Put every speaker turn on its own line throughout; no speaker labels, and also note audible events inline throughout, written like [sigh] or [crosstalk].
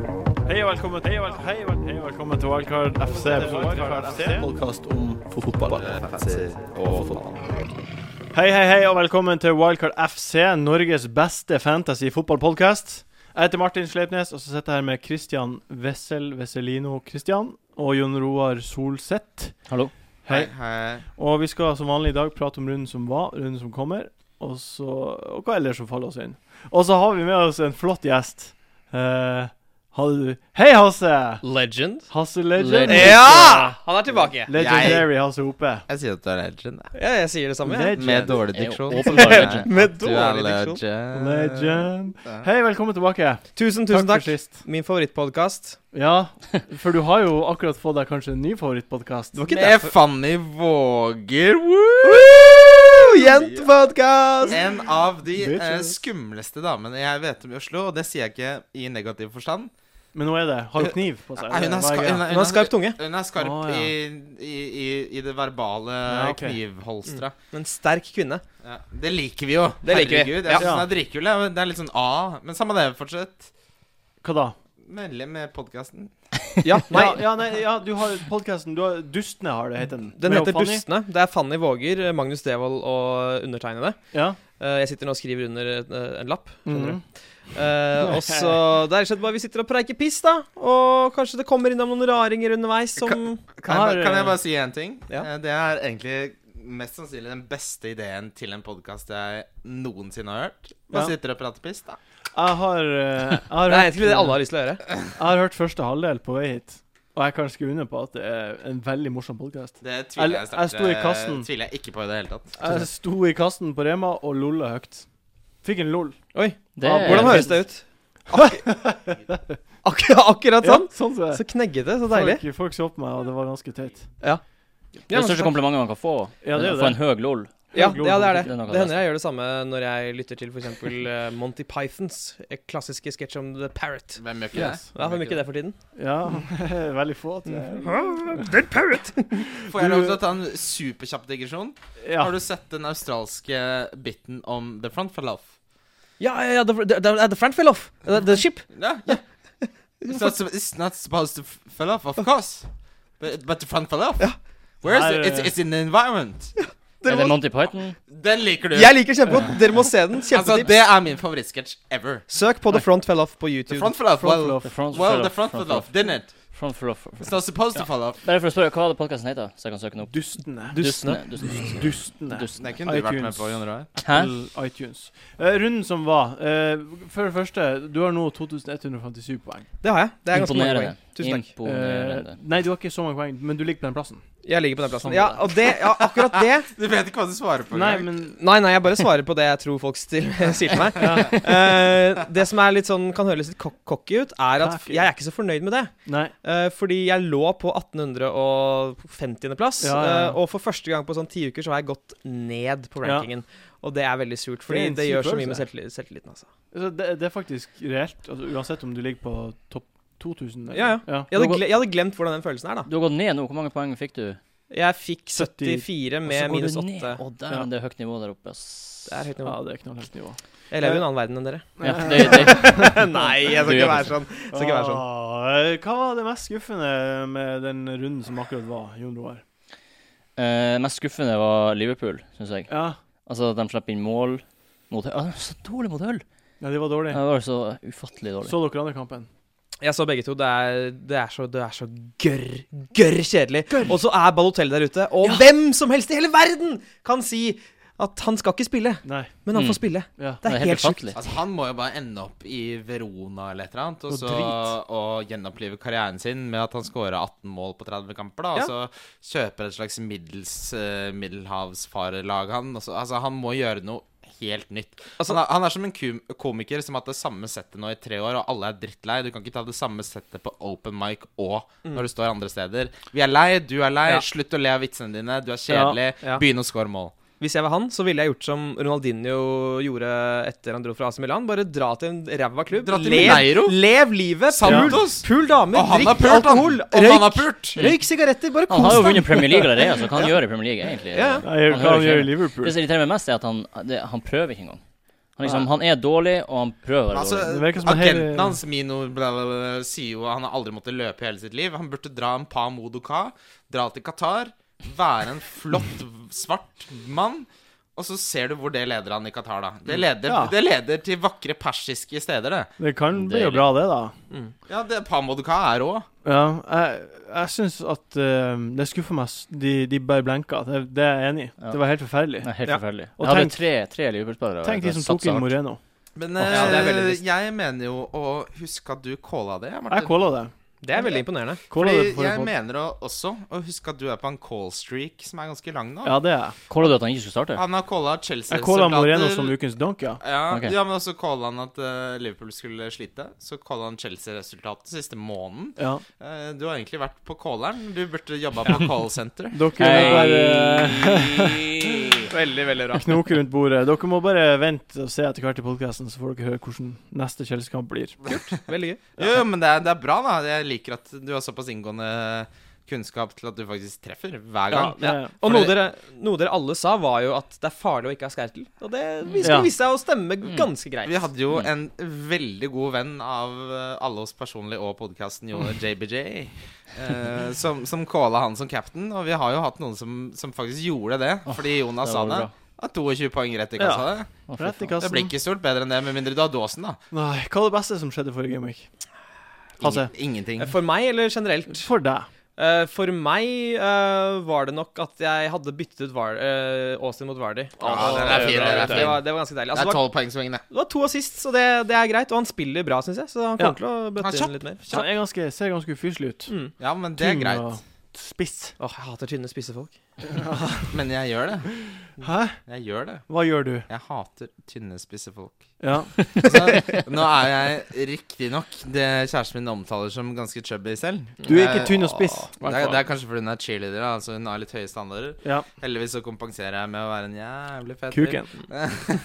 og velkommen til Wildcard- Hei og vel- hei og velkommen til Wildcard FC. episode Wildcard FC.
podkast om fotball.
Hei, hei, hei, og velkommen til Wildcard FC, Norges beste fantasy-fotballpodkast. Jeg heter Martin Sleipnes, og så sitter jeg her med Christian Wessel Wesselino Christian og Jon Roar Solseth.
Hallo.
Hei. Og vi skal som vanlig i dag prate om runden som var, runden som kommer, og, så, og hva ellers som faller oss inn. Og så har vi med oss en flott gjest. Eh, hadde du Hei, Hasse!
Legend.
Hasse Legend.
Legend.
Ja! Han er tilbake.
Legendary Hasse Hope.
Jeg sier at du er legend. jeg.
Ja, jeg sier det samme. jeg.
Legend.
Med dårlig diksjon.
Jeg er jo åpenbar
[laughs]
legend.
Med
Du er
dårlig diksjon.
legend.
Legend.
Ja.
Hei, velkommen tilbake.
Tusen, tusen
takk
takk.
for sist.
Min favorittpodkast.
Ja, for du har jo akkurat fått deg kanskje en ny favorittpodkast.
var
Med Fanny Våger. Woo!
Jentepodkast!
En av de
Bitches.
eh, skumleste damene jeg vet om i Oslo, og det sier jeg ikke i negativ forstand.
Men nå er det. Har du kniv på seg?
Nei, Hun er,
Hva
ska
greia?
hun er,
Hun har skarp tunge,
Hun er skarp
Å, ja.
i, i, i, i det verbale
Ja, ok. Mm.
knivholstra.
men sterk kvinne.
Ja, det liker vi jo.
Det liker vi.
Herregud, Jeg
Ja.
syns den er dritkul. jeg. Det er litt sånn A. Men samme det, fortsett.
Hva da?
Melde med podkasten.
Ja, [laughs] nei.
Ja, ja, nei, ja du har podkasten Dustene har det, heter den.
Den
Med
heter
Fanny.
Dustene. Det er Fanny Våger, Magnus Devold og undertegnede.
Ja.
Eh, Jeg sitter nå og skriver under eh, en lapp.
Mhm.
skjønner du? Eh, og så Det er rett og slett bare vi sitter og preiker piss, da. Og kanskje det kommer innom noen raringer underveis som
Kan, jeg
Har,
ba- kan
eh,
jeg bare si én ting?
ja.
Eh, Det er egentlig mest sannsynlig den beste ideen til en podkast jeg noensinne har hørt. Bare
Ja.
sitter og prater piss, da.
Jeg har, eh, jeg, har
[laughs] Det er egentlig det alle
hørt,
har lyst til å gjøre.
jeg har hørt første halvdel på vei hit, og jeg kan skrive under på at det er en veldig morsom podkast.
Det tviler jeg,
Jeg- jeg sto i kassen.
Det tviler jeg ikke på i det hele tatt.
Jeg sto i kassen på Rema og lolla høyt. Fikk en lol.
Oi,
Det
Ja,
Hvordan
er-
høres det ut? [laughs] Akkurat, akkurat sånn?
sånn som det
Så kneggete. Så deilig.
Folk, folk så på meg, og det var ganske teit.
Det er det største komplimentet man kan få.
Ja, det er
å
jo
få
det.
en høg lol.
Ja,
Glor-
ja, det er det.
Det er noe av
Det hender jeg gjør det samme når jeg lytter til f.eks. Monty Pythons eh, klassiske sketsj om The Parrot.
Hvem gjør ikke
Yes.
det?
Ja, Hvem gjør ikke det for tiden?
Ja, [laughs] veldig få. tror jeg.
Dead Parrot!
Får jeg lov til å ta en superkjapp digresjon?
Ja.
Har du sett den australske biten om The Front for Love?
Ja, ja, ja, the, the, the, the front fell off. The, the ship.
Ja, ja. It's not, it's not supposed to f- fell off, of
Oh.
course. But, but the front fell off. Where is
Nei,
it? It's, it's in the environment.
Er det Monty Python?
Den liker du.
Jeg liker det kjempegodt. Dere må se den.
altså,
Kjempetips.
det er min favorittsketsj ever.
Søk på The Front Fell Off på
The
YouTube.
front fell off.
Front
well,
Love.
The front
well,
fell
the
off,
front fell off, didn't it?
Front fell off.
It's not supposed to fall off.
Bare for å spørre, hva hadde podkasten heta, så jeg kan søke den opp?
Dustene.
Dustene. Dustene.
Dustene.
Dustene.
kunne du vært med på, Jon
Hæ?
Til iTunes. Eh, runden som var eh, For det første, du har nå 2157 poeng.
Det har jeg. Det er ganske mange
Imponerende.
poeng. Tusen takk.
Eh,
Imponerende.
nei, du har ikke så mange poeng, men du ligger på den plassen.
Jeg ligger på den
Sånn
plassen. Ja, og det, ja, akkurat det
[laughs] Du vet ikke hva du svarer på.
Nei,
engang.
men
Nei, nei, jeg bare svarer på det jeg tror folk still, [laughs] sier til meg. Eh, det som er litt sånn, kan høres litt kok- cocky ut, er at
Cocky.
jeg er ikke så fornøyd med det.
Nei.
Eh, fordi jeg lå på 1850.-plass,
Ja, ja, ja.
og for første gang på sånn ti uker så har jeg gått ned på
Ja.
rankingen. Og det er veldig surt,
Det er
fordi
en
det,
syk
gjør så
følelse.
mye med selvtillit, selvtilliten. Altså.
Altså, det, det er faktisk reelt. Altså, uansett om du ligger på topp 2000.
Ja,
ja.
Jeg, hadde
Hvor-
gle jeg hadde glemt hvordan den følelsen er, da.
Du har gått ned nå. Hvor mange poeng fikk du?
Jeg fikk
70,
74
Og så
med
går
minus
du
8.
ned. Å,
Ja.
dæven, det er høyt nivå der oppe, ass.
Det er høyt
Ja,
nivå.
det er knallhøyt nivå.
Jeg lever i en annen verden enn dere.
Ja, det, det,
nei, jeg skal
Du gjør
ikke være sånn. Skal ikke være sånn.
Ah, eh, hva var det mest skuffende med den runden som akkurat var, Jon Roar?
Eh, mest skuffende var Liverpool, syns jeg.
Ja.
Altså, de slipper inn mål mot Hull. Ah, de er så dårlig mot Hull!
ja, det var dårlig.
Det var så ufattelig dårlig.
Så dere andre kampen?
Jeg så begge to. Det er, det er så, det er så gørr, gørr kjedelig. Og så er Balotelli der ute, og hvem som helst i hele verden kan si at han skal ikke spille,
Nei.
men han
Mm.
får spille.
Ja.
Det er helt sjukt.
ufattelig.
Altså, han må jo bare ende opp i Verona eller et eller annet, og,
Noe
så, og gjenopplive karrieren sin med at han scora 18 mål på 30 kamper, da, og så kjøper et slags middels, eh, middelhavsfarerlag, han. og så- altså, han må gjøre noe helt nytt.
Altså-
han, er, han er som en kum- komiker som har hatt det samme settet nå i tre år, og alle er drittlei. Du kan ikke ta det samme settet på open mic og når du står andre steder. Vi er lei, du er lei,
Mm. Ja.
slutt å le av vitsene dine, du er kjedelig,
Ja, ja.
begynn å score mål.
Hvis jeg var han, så ville jeg gjort som Ronaldinho gjorde etter han dro fra AC Milan. Bare dra til en ræva klubb.
Dra til
Lev,
Mineiro.
lev livet. Pul,
Santos.
pul damer.
Og han har
Drikk
pult, han!
alkohol.
Og han
Røyk,
har pult!
røyk sigaretter. Bare
Han har jo
kos deg.
vunnet Premier League allerede, så hva han gjør i Premier League, egentlig?
Ja, ja.
Nei, hva
hører
han gjør i
ikke hjemme.
Liverpool?
Det som irriterer meg mest, er at han, det, han prøver ikke engang. Han, liksom, han er dårlig, og han prøver å være
Altså,
dårlig.
Det virker som han
agenten
hele-
hans, Mino, bla, bla, bla, sier jo at han har aldri måttet løpe i hele sitt liv. Han burde dra en par Modoka, dra til Qatar, være en flott svart mann. Og så ser du hvor det leder han i Qatar, da. Det leder,
Ja.
det leder til vakre persiske steder, det.
Det kan bli
Deilig.
jo bra, det, da.
Ja, det, par Modoka er rå.
Ja, jeg, jeg syns at eh, Det skuffer meg. s- De, de bare blenka. Det, det er jeg enig i.
Ja.
Det var helt forferdelig.
Nei, helt
Ja.
forferdelig.
Og
Jeg hadde
tenk-
tre, tre Liverpool-spillere. og
Tenk de
jeg
som tok
satsa
inn
hardt.
Moreno.
Men
Åh, ja, det er
eh,
veldig trist.
jeg mener jo å huske at du calla det, Martin.
Jeg calla det.
Det er
[laughs]
veldig imponerende.
Calla det på
Fordi jeg
forrige pod.
mener å- også å huske at du er på en call streak som er ganske lang nå.
Ja, det er jeg.
Kåla du at han ikke skulle starte?
Han har calla
Jeg calla Moreno som
Chelsea-soldater.
ukens donk, ja.
Ja,
Ok.
ja, men også calla han at eh, Liverpool skulle slite. Så calla han Chelsea-resultatet siste måneden.
ja.
Eh, du har egentlig vært på calleren. Du burde jobba på callsenter.
[laughs]
Dere må bare
Veldig, veldig bra.
knoke rundt bordet. Dere må bare vente og se etter hvert i podkasten, så får dere høre hvordan neste Chelsea-kamp blir.
Veldig gøy.
Jo, jo, men det er, det er bra, da. Jeg liker at du har såpass inngående kunnskap til at du faktisk treffer hver
Ja,
gang.
det,
Og
Fordi-
noe dere, noe dere alle sa, var jo at det er farlig å ikke ha skertel. Og det vi skulle
Ja.
vise seg å stemme ganske
Mm.
greit.
Vi hadde
Mm.
jo en veldig god venn av eh, alle oss personlig og podkasten, jo
Mm.
JBJ, eh, som, som calla han som cap'n. Og vi har jo hatt noen som, som faktisk gjorde det, fordi Jonas
det
sa det.
var bra.
At 22 poeng rett i
Ja.
kassa. det.
Å, fy
rett i
faen.
Det blir
kassen.
ikke stort bedre enn det, med mindre du har dåsen, da.
Nei, hva var det beste som skjedde forrige gameweek? Hasse,
Ingen- Ingenting.
For meg, eller generelt?
for deg.
Eh, for meg eh, var det nok at jeg hadde byttet ut Var eh, Austin mot Vardy.
Ja,
Og-
den er fin, den er fin.
det, var, det var ganske deilig.
Det
Altså,
er
det, var,
tolv poengsvingene.
det var to assist, så det, det er greit. Og han spiller bra, syns jeg, så han
Ja.
kommer til å
Han er
bøtte
kjapp.
inn litt mer.
Han er ganske, ser ganske ufyselig ut.
Mm.
Ja, men det er
Tynn
greit.
og Spiss.
Åh, jeg hater tynne, spisse folk.
Men jeg gjør det.
Hæ?
Jeg gjør det.
Hva gjør du?
Jeg hater tynne, spisse folk.
Ja.
Så, nå er jeg riktignok det kjæresten min omtaler som ganske chubby selv.
Du er ikke tynn og spiss.
Det er, det er kanskje fordi hun er cheerleader, da, altså hun har litt høye standarder.
Ja.
Heldigvis så kompenserer jeg med å være en jævlig fet fyr.
Kuken.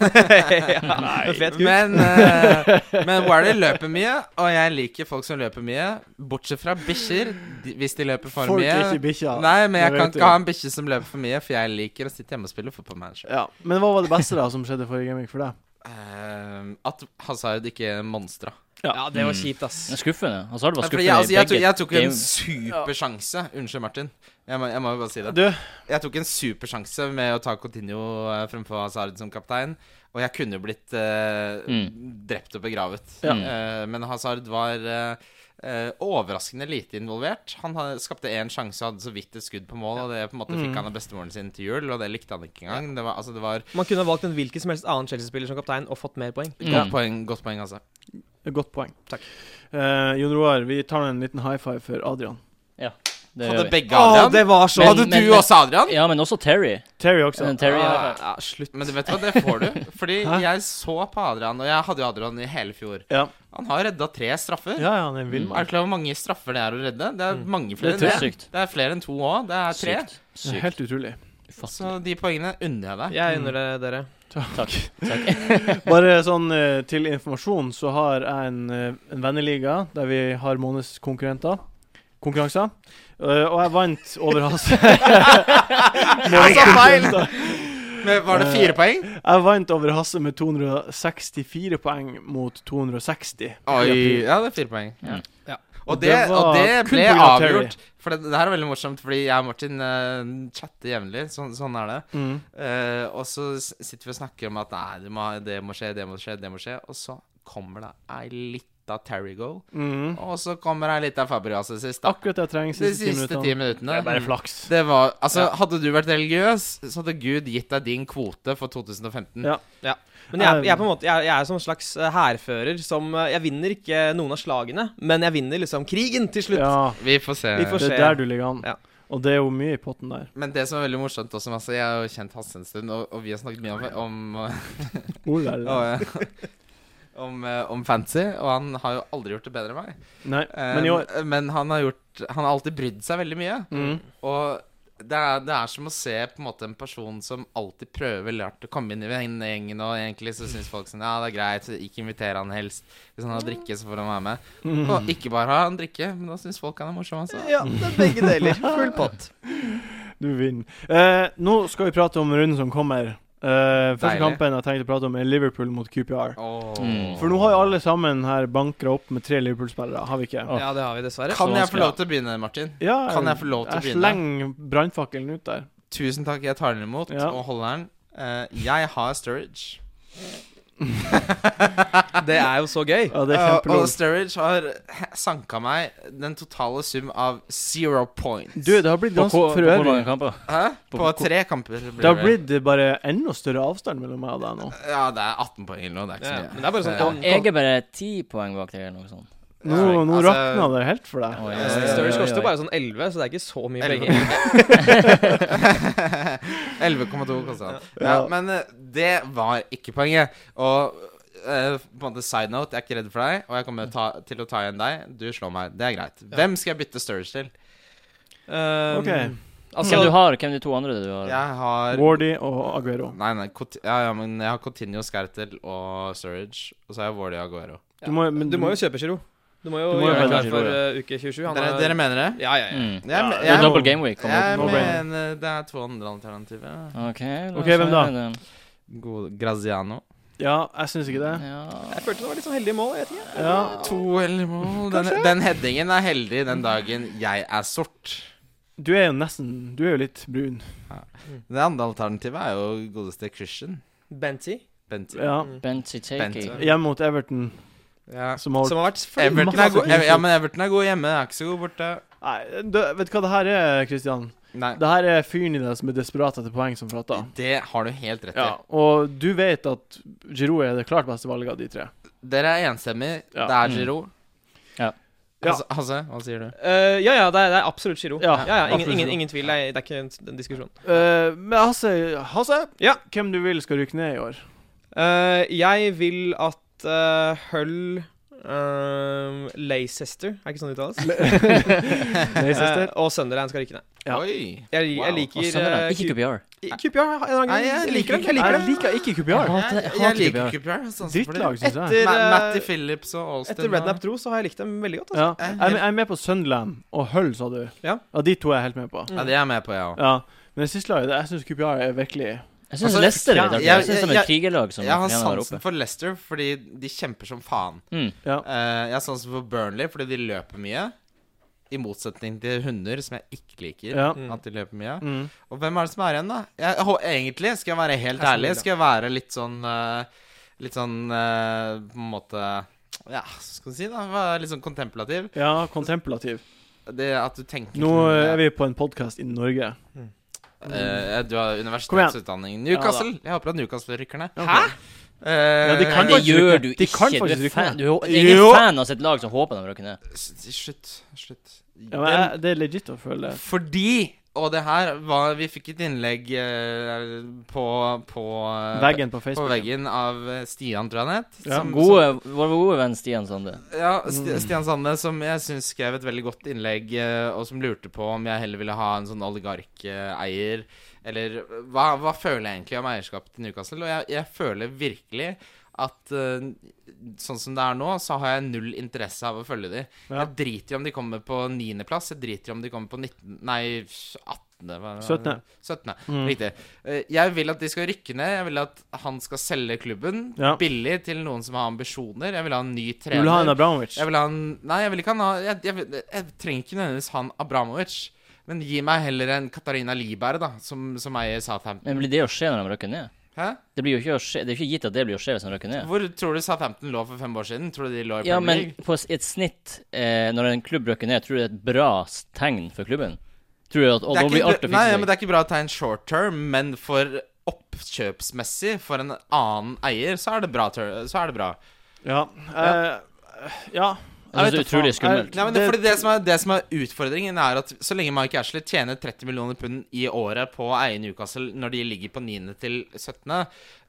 ja, en fet kuk.
Men, eh, men Wally løper mye, og jeg liker folk som løper mye. Bortsett fra bikkjer, de- hvis de løper for
Folk er
mye.
ikke bikkja.
Nei, men jeg
Det
kan
vet du.
ikke ha en bikkje som løper for mye, for jeg liker å sitte hjemme og spille fotball med meg selv.
Ja. Men hva var det beste da som skjedde forrige gameweek for deg?
Eh, At Hazard ikke monstra.
Ja, det var kjipt, ass.
Det er skuffende. Altså, det var
Jeg,
skuffende
jeg, altså,
i
jeg, tok,
begge
jeg tok en
game.
supersjanse. Unnskyld, Martin. Jeg må, jeg må jo bare si det.
Du,
Jeg tok en supersjanse med å ta Coutinho eh, fremfor Hazard som kaptein. Og jeg kunne jo blitt eh,
Mm.
drept og begravet.
Ja.
Eh, men Hazard var eh, eh, overraskende lite involvert. Han ha- skapte én sjanse og hadde så vidt et skudd på mål. Og det på en måte fikk han av bestemoren sin til jul, og det likte han ikke engang. Det var, altså, det var
Man kunne ha valgt en hvilken som helst annen Chelsea-spiller som kaptein og fått mer poeng.
Mm.
godt, poeng, godt poeng, altså.
godt poeng.
Takk.
Eh, Jon Roar, vi tar en liten high five for Adrian.
Det gjør
Hadde
vi.
begge Adrian?
det var så
Men-
hadde du også Adrian?
Ja, men også Terry.
Terry også.
Men
Ah.
Terry ja.
ja, Slutt.
Men du vet hva, det får du. Fordi
Hæ?
jeg så på Adrian, og jeg hadde jo Adrian i hele fjor.
Ja.
Han har redda tre straffer.
ja, ja, han er en vill
Er
mann.
du klar over hvor mange straffer det er å redde? Det er mange
Det
flere
er
enn det.
sykt.
Det er flere enn to òg. Det er tre.
Det
Sykt.
er
Sykt.
Helt utrolig.
Så
Ufattelig.
de poengene unner jeg deg.
Jeg unner det dere.
Takk. Takk.
Bare sånn eh, til informasjon, så har jeg en, eh, en venneliga der vi har månedskonkurrenter. Konkurranser. Eh, og jeg vant over [laughs] Hasse.
Jeg sa feil! Men var det fire poeng?
Jeg vant over Hasse med 264 poeng mot 260. i april.
Ja, det er fire poeng.
Ja.
Ja.
Og
Det
det, og
var
det
kun
ble
på grunn av Terry.
avgjort. For det, det her er veldig morsomt, fordi jeg og Martin eh, chatter jevnlig. Sånn, sånn er det.
Mm.
Eh, og så s- sitter vi og snakker om at nei, det må, det må skje, det må skje, det må skje. Og så kommer det ei lita Terry-goal.
Mm.
Og så kommer ei lita Fabregas sist. da.
Akkurat det jeg trenger
De
siste ti
siste ti
minuttene.
minuttene.
Det er bare flaks.
Det var, altså, Hadde du vært religiøs, så hadde Gud gitt deg din kvote for 2015.
Ja. Um.
Men jeg, jeg, er på en måte, jeg, jeg er som en slags eh, hærfører som eh, Jeg vinner ikke noen av slagene, men jeg vinner liksom krigen til slutt.
Ja,
Vi får se.
Vi får
Eh, det
se.
er der du ligger an.
Ja.
Og det er jo mye i potten der.
Men det som er veldig morsomt også, altså, jeg har jo kjent Hasse en stund, og, og vi har snakket mye om, [laughs] om,
Oh, la, la.
og, [laughs] om, eh, om fantasy, og han har jo aldri gjort det bedre enn meg.
Nei,
Eh,
men i år
men han har gjort Han har alltid brydd seg veldig mye.
mm.
Og det er, det er som å se på en måte en person som alltid prøver veldig hardt å komme inn i vennegjengen, og egentlig så syns folk sånn Ja, det er greit, så ikke inviter han helst. Hvis han har drikke, så får han være med.
Mm.
Og ikke bare har han drikke, men da syns folk han er morsom, altså.
Ja, det er begge deler. Full pott.
Du vinner. Eh, nå skal vi prate om runden som kommer. Eh, første
Deilig.
kampen jeg tenkte å prate om, er Liverpool mot QPR.
Åh.
Mm.
For nå har jo alle sammen her bankra opp med tre Liverpool-spillere, har vi ikke?
Åh.
Ja, det har vi dessverre.
Kan
Så
jeg få
skal-
lov til å begynne, Martin?
Ja,
Kan jeg få lov til å
jeg
begynne?
slenger brannfakkelen ut der.
Tusen takk, jeg tar den imot
Ja.
og holder den. Eh, jeg har Sturridge.
Det er jo så gøy.
Ja, det er
Eh, og
kjempelov.
Sturridge har sanka meg den totale sum av zero points.
Du, det har blitt
På,
ganske
hvor-
for
på hvor mange
øvrig
kamper?
Hæ? På,
på- på-
tre kamper blir
Det har blitt bare enda større avstand mellom meg og deg nå.
Ja, det er 18 poeng nå, det er ikke
Ja,
så
ja.
mye.
Men det er bare
Ja.
sånn, kan-
Jeg er bare ti poeng bak deg, eller noe sånt.
Nå, nå
Altså-
rakna det helt for deg.
Oi, oi,
Eh,
oi,
Sturridge
oi,
koster
oi.
bare sånn 11, så det er ikke så mye
Elleve.
penger.
11,2 kosta han. Ja, men eh, det var ikke poenget. Og eh, på en måte side note, jeg er ikke redd for deg, og jeg kommer ta, til å ta igjen deg. Du slår meg. Det er greit. Hvem skal jeg bytte Sturridge til?
[laughs]
Um,
OK.
Altså,
Hvem du har, hvem de to andre du har?
Jeg har
Wardy og Aguero.
Nei, nei, Couti- ja, ja, men jeg har Coutinho, Skertel og Sturridge. Og så har jeg Wardy og Aguero.
Du må, men,
du må jo kjøpe Giro. Du må jo
Du må jo
gjøre
velge
klar
Giroud,
for
ja.
uh, uke 27. Han
Dere,
er-
dere mener det?
Ja, ja, ja.
Mm.
Jeg, jeg,
det
Det er
jeg,
må-
double game week. Kommer ut.
no brainer.
mener det er to andre alternativer.
Ok, la
Ok,
oss
hvem da?
høre den.
God, Graziano.
Ja, jeg syns ikke det.
Ja.
Jeg følte det var litt sånn heldig mål. Jeg vet ikke.
Ja.
To eller mål den, den headingen er heldig den dagen jeg er sort.
Du er jo nesten Du er jo litt brun.
Det andre alternativet er jo godeste Christian.
Benty.
Bent.
Ja.
Mm.
Benty Takey.
Bente.
Hjemme mot Everton,
Ja.
som har
Som har vært
Everton er
masse
god,
god.
ja, men Everton er god hjemme. Er ikke så god borte.
Nei, du, vet du hva det her er, Christian?
Nei,
Det her er fyren i deg som er desperat etter poeng, som prater.
det har du helt rett i.
Ja, og du vet at Giroud er det klart beste valget av de tre.
Dere er enstemmige.
Ja.
Det er Giroud.
Ja.
Ja.
Hasse, Hasse, hva sier du?
Eh, ja, ja, det er, det er absolutt Giro.
Ja,
Ja, ja, ingen,
absolutt
ingen,
Giroud.
ingen tvil. Det er, det er ikke en, en diskusjon.
Eh, men Hasse, Hasse
Ja.
hvem du vil skal rykke ned i år?
Eh, jeg vil at eh, Hull eh, Leicester Er ikke sånn det uttales?
Nei, søster?
Eh, og Sunderland skal ryke ned.
Ja.
Oi.
Jeg, jeg
Wow.
Og
liker
Sunderland.
eh,
Ikke
Q-
QPR.
QPR. har en eller annen
Nei,
grunn.
jeg
Jeg
liker
liker dem. Jeg liker
[laughs] Jeg
dem.
liker ikke QPR.
hater-
Jeg,
jeg
jeg
hater
liker
Gabriel.
Cooper. sånn som fordi-
Drittlag, syns jeg.
Etter,
Ma-
eh,
Matty Phillips og Alston.
etter Rednap dro, så har jeg likt dem veldig godt. Altså.
Ja. Jeg er med- jeg er med på Sunderland og Hull, sa du.
Ja.
De to er jeg helt med på.
Ja, det er jeg med på, jeg òg.
Ja. Men det siste laget, jeg syns QPR er virkelig
Jeg syns
Altså,
Leicester er
ja,
litt artig.
jeg-
Jeg syns de er
jeg-
et krigerlag som
Jeg har
gjerne er
sansen
oppe.
for Leicester fordi de kjemper som faen.
Mm.
Ja.
Eh, jeg har sansen for Burnley fordi de løper mye. I motsetning til hunder, som jeg ikke liker.
Ja.
At de løper mye.
Mm.
Og hvem er det som er igjen, da? Jeg, hå- egentlig, skal jeg være helt
Aston
ærlig,
Villa.
skal jeg være litt sånn eh, Litt sånn eh, på en måte Ja, hva skal du si, da? Være Litt sånn kontemplativ.
ja, kontemplativ.
Det at du tenker
Nå eh, er vi på en podkast i Norge.
Eh, Du har universitetsutdanning.
igjen.
Newcastle! jeg håper at Newcastle rykker ned.
Hæ?
Eh,
Ja, de kan
Nei, det
faktisk
gjør
rykke-
du
de
ikke.
kan
Du
faktisk
er
rykke
fan,
ned.
du er jeg er
Jo.
fan av sitt slag som håper de rykker ned.
s- Slutt. Slutt.
Ja, men
Den-
jeg, det er legit å føle det.
Fordi Og det her var Vi fikk et innlegg eh, på, på eh,
Veggen på
På
Facebook.
veggen av eh, Stian, tror jeg han het.
Ja,
som-
Gode, vår gode venn Stian Sande.
som- ja,
Mm.
Sti- Stian Sande, som jeg syns skrev et veldig godt innlegg, eh, og som lurte på om jeg heller ville ha en sånn oligarkeier, eller hva, hva føler jeg egentlig om eierskap til Newcastle? Og jeg, jeg føler virkelig at eh, sånn som det er nå, så har jeg null interesse av å følge de.
Ja.
Jeg driter i om de kommer på 9. plass, jeg driter i om de kommer på 19... Nei, 18. hva- hva-
17..
17.
Mm.
Riktig. Eh, Jeg vil at de skal rykke ned. Jeg vil at han skal selge klubben
Ja.
billig til noen som har ambisjoner. Jeg vil ha en ny
Du vil ha en
trener.
Abramovic?
Jeg vil ha en Nei, jeg vil ikke ha en jeg, jeg, vil- jeg trenger ikke nødvendigvis han Abramovic. Men gi meg heller en Katarina Liberg, da, som, som eier Southampton.
Men blir det å skje når de rykker ned?
Hæ?
Det, blir jo ikke å skje, det er jo ikke gitt at det blir å skje hvis de rykker ned.
Hvor tror du Southampton lå for fem år siden? Tror du de lå i Premier
Ja, men
League?
på s- et snitt, eh, når en klubb røkker ned, tror du det er et bra s- tegn for klubben? Tror du at og
Det er
da
ikke
blir alt å
bra- nei, ja, men
fikse seg?
det er ikke bra å ta en short term, men for oppkjøpsmessig, for en annen eier, så er det bra. ter- Så er det bra.
Ja. eh, ja.
Jeg synes det er
vet da
utrolig
faen.
skummelt.
Eh, Nei, men det, fordi det, som er, det som er utfordringen, er at så lenge Mike Ashley tjener 30 millioner pund i året på å eie Newcastle når de ligger på 9. til 17.,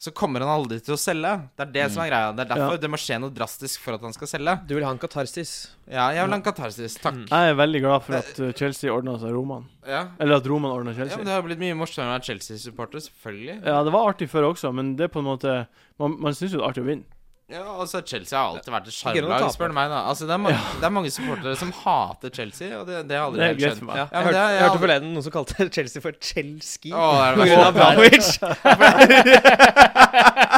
så kommer han aldri til å selge. Det er det som er greia. Det er derfor
Mm. Ja.
det må skje noe drastisk for at han skal selge.
Du vil ha en katarsis.
Ja, jeg vil ha en katarsis. Takk.
Jeg er veldig glad for at uh, Chelsea ordna seg Roman.
Ja.
Eller at Roman ordna
ja,
Chelsea.
men Det har jo blitt mye morsommere å være Chelsea-supporter, selvfølgelig.
Ja, det var artig før også, men det er på en måte Man, man syns jo det er artig å vinne.
Ja, altså Chelsea har alltid vært et
Ikke noe å
sjarmlag,
tape.
spør du meg. da Altså Det er mange, det er mange supportere som hater Chelsea, og det, det har jeg
Det
aldri
er
helt
greit for
skjønt.
meg.
Ja,
Jeg
men
hørte,
det har
jeg hørte
aldri-
forleden noen som kalte [laughs] Chelsea for Chelsea.
Å, det er det
På grunn
[laughs]
verste.
av Abramovic.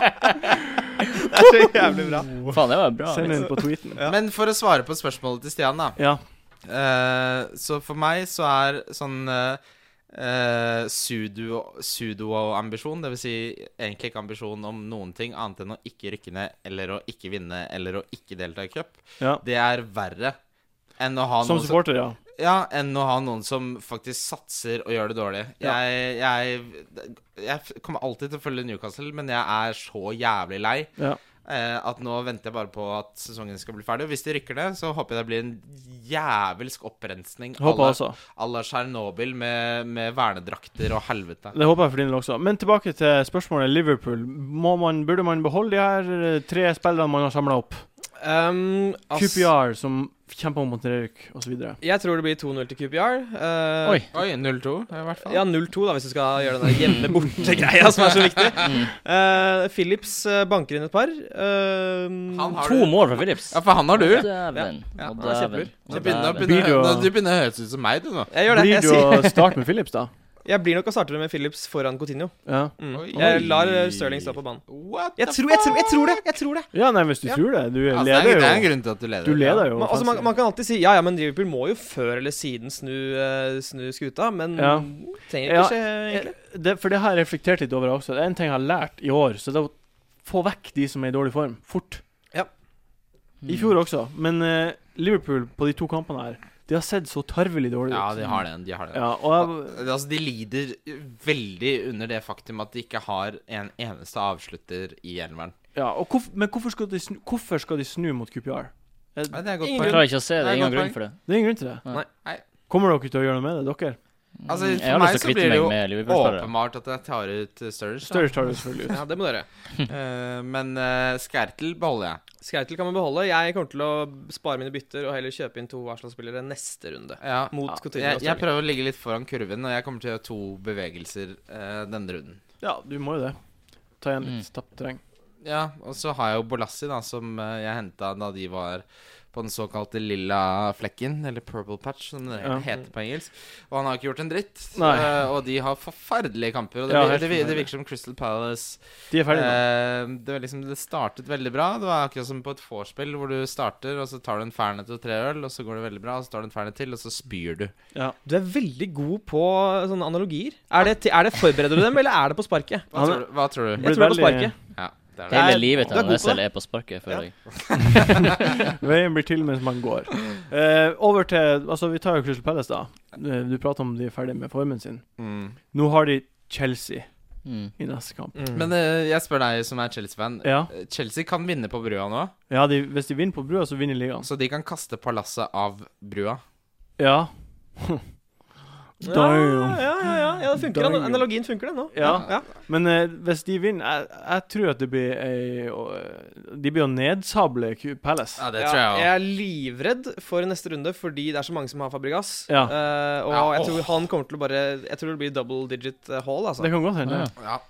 Det er så jævlig bra.
Faen, det var bra.
Send
Liksom.
inn på tweeten.
Men for å svare på spørsmålet til Stian, da.
Ja.
Eh, så for meg så er sånn eh, eh, sudo- Sudo-ambisjon, det vil si egentlig ikke ambisjon om noen ting annet enn å ikke rykke ned, eller å ikke vinne, eller å ikke delta i cup,
ja.
[laughs] det er verre enn å ha
Som
noen som,
supporter, ja.
ja, enn å ha noen som faktisk satser og gjør det dårlig.
Ja.
Jeg, jeg, jeg kommer alltid til å følge Newcastle, men jeg er så jævlig lei.
ja.
Eh, at nå venter jeg bare på at sesongen skal bli ferdig. Og hvis de rykker ned, så håper jeg det blir en jævelsk opprensning à
Håper
la-
også.
à la Tsjernobyl med, med vernedrakter og helvete.
Det håper jeg for din del også. Men tilbake til spørsmålet Liverpool. Må man, burde man beholde de her eh, tre spillerne man har samla opp?
Um, ass,
QPR, som kjemper om mot nedrykk, osv.
jeg tror det blir 2-0 til QPR. Eh,
Oi.
Oi, 0-2 i hvert fall.
Ja, 0-2, da, hvis du skal gjøre den der hjemme borte-greia som er så viktig.
Mm.
Eh, Philips eh, banker inn et par. Eh,
Han har
To
du.
mål fra Philips.
Ja, for han har du.
Å, Dæven.
Ja,
Å,
han er
dæven.
kjempelur.
Du begynner,
Å,
å-
dæven.
begynner,
Blir du å-
nå- du begynner å høres ut som meg, du nå.
jeg gjør det.
Blir
Jeg,
du
sier,
å starte med Philips,
[laughs]
da?
jeg blir nok å starte med Philips foran Coutinho
Ja,
Mm.
Oi.
Jeg lar eh, Sterling stå på banen.
What
Jeg tror, jeg, tror, jeg tror det! Jeg tror det.
ja nei, hvis du
Ja. Altså,
tror det. Du
Ja, det, er, Altså, det er en
leder jo.
grunn til at du leder.
Du leder jo.
Men, altså, man,
offensivt.
man kan alltid si ja, ja, men Liverpool må jo før eller siden snu, eh, snu skuta. Men
Ja.
trenger
Ja,
ikke skje, egentlig.
det, for det har jeg reflektert litt over også. Det er en ting jeg har lært i år, så det er å få vekk de som er i dårlig form, fort.
Mm.
I fjor også. Men eh, Liverpool på de to kampene her, de har sett så tarvelig dårlig ut.
Ja, de har den. De har den.
Ja, og jeg,
Altså, de lider veldig under det faktum at de ikke har en eneste avslutter i elveren.
ja, og hvorf, men hvorfor skal, de snu, hvorfor skal de snu mot QPR? Eh,
Nei, det er et godt
Ingen
Jeg
poeng.
klarer ikke å se det.
Nei,
Ingen
godt
grunn
poeng.
for det.
Det er ingen grunn til det.
Nei.
Nei.
Kommer dere til å gjøre noe med det, dere?
Altså,
Mm,
for
jeg
meg
har lyst til å
så blir
kvitte
det
meg
jo
med Liverpool-spillere.
Åpenbart at jeg tar ut eh, Sturridge. da.
Større tar det selvfølgelig
[laughs]
ut.
Ja, det må dere.
[laughs] Eh, men eh, Skertel beholder jeg.
Skrautel kan man beholde. Jeg kommer til å spare mine bytter og heller kjøpe inn to Arsenal-spillere neste runde.
Ja.
Mot Coutinho
jeg, jeg
og Stirling.
prøver å ligge litt foran kurven, og jeg kommer til å gjøre to bevegelser eh, denne runden.
Ja, du må jo det. Ta igjen litt tapt terreng.
Ja, og så har jeg jo Bolassi, da, som eh, jeg henta da de var på den såkalte lilla flekken, eller purple patch, som det
Ja.
heter på engelsk. Og han har ikke gjort en dritt.
Nei.
eh, og de har forferdelige kamper. Og det,
Ja,
vir-
helt
det, vir- det
forferdelig.
virker som Crystal Palace
De er ferdige nå.
Eh, det, var liksom, det startet veldig bra. Det var akkurat som på et vorspiel, hvor du starter, og så tar du en fernet og tre øl, og så går det veldig bra, og så tar du en fernet til, og så spyr du.
Du er veldig god på eh, sånne analogier. Er det, er det Forbereder du dem, eller er det på sparket?
Hva
Han-
tror du? Hva tror du?
Blir
Jeg tror det er på
veldig-
sparket.
Ja, det er det.
Nei,
Hele livet
du
til
er
han
god på
Wessel er på sparket, føler jeg.
[laughs] Veien blir til mens man går. Eh, over til Altså, vi tar jo Crystal Palace, da. Eh, Du prater om de er ferdige med formen sin.
Mm.
Nå har de Chelsea
Mm.
i neste kamp.
Men
Men eh, jeg spør deg som er Chelsea-fan.
Ja,
Eh, Chelsea kan vinne på brua nå,
ja de, hvis de vinner på brua, så vinner ligaen.
så de kan kaste palasset av brua.
Ja.
ja,
Damn.
ja, ja, ja, ja, det funker.
Damn.
Analogien funker, den nå.
Ja.
ja.
Men eh, hvis de vinner Jeg, jeg tror at det blir ei å- De blir å nedsable Q- Palace.
Ja, det
Ja,
tror jeg
jeg
òg.
er livredd for neste runde fordi det er så mange som har Fabregas.
Ja.
Eh, og
Ja,
jeg tror
åh.
han kommer til å bare Jeg tror det blir double digit eh, haul, altså.
Det kan godt hende.
Ja.
Ja.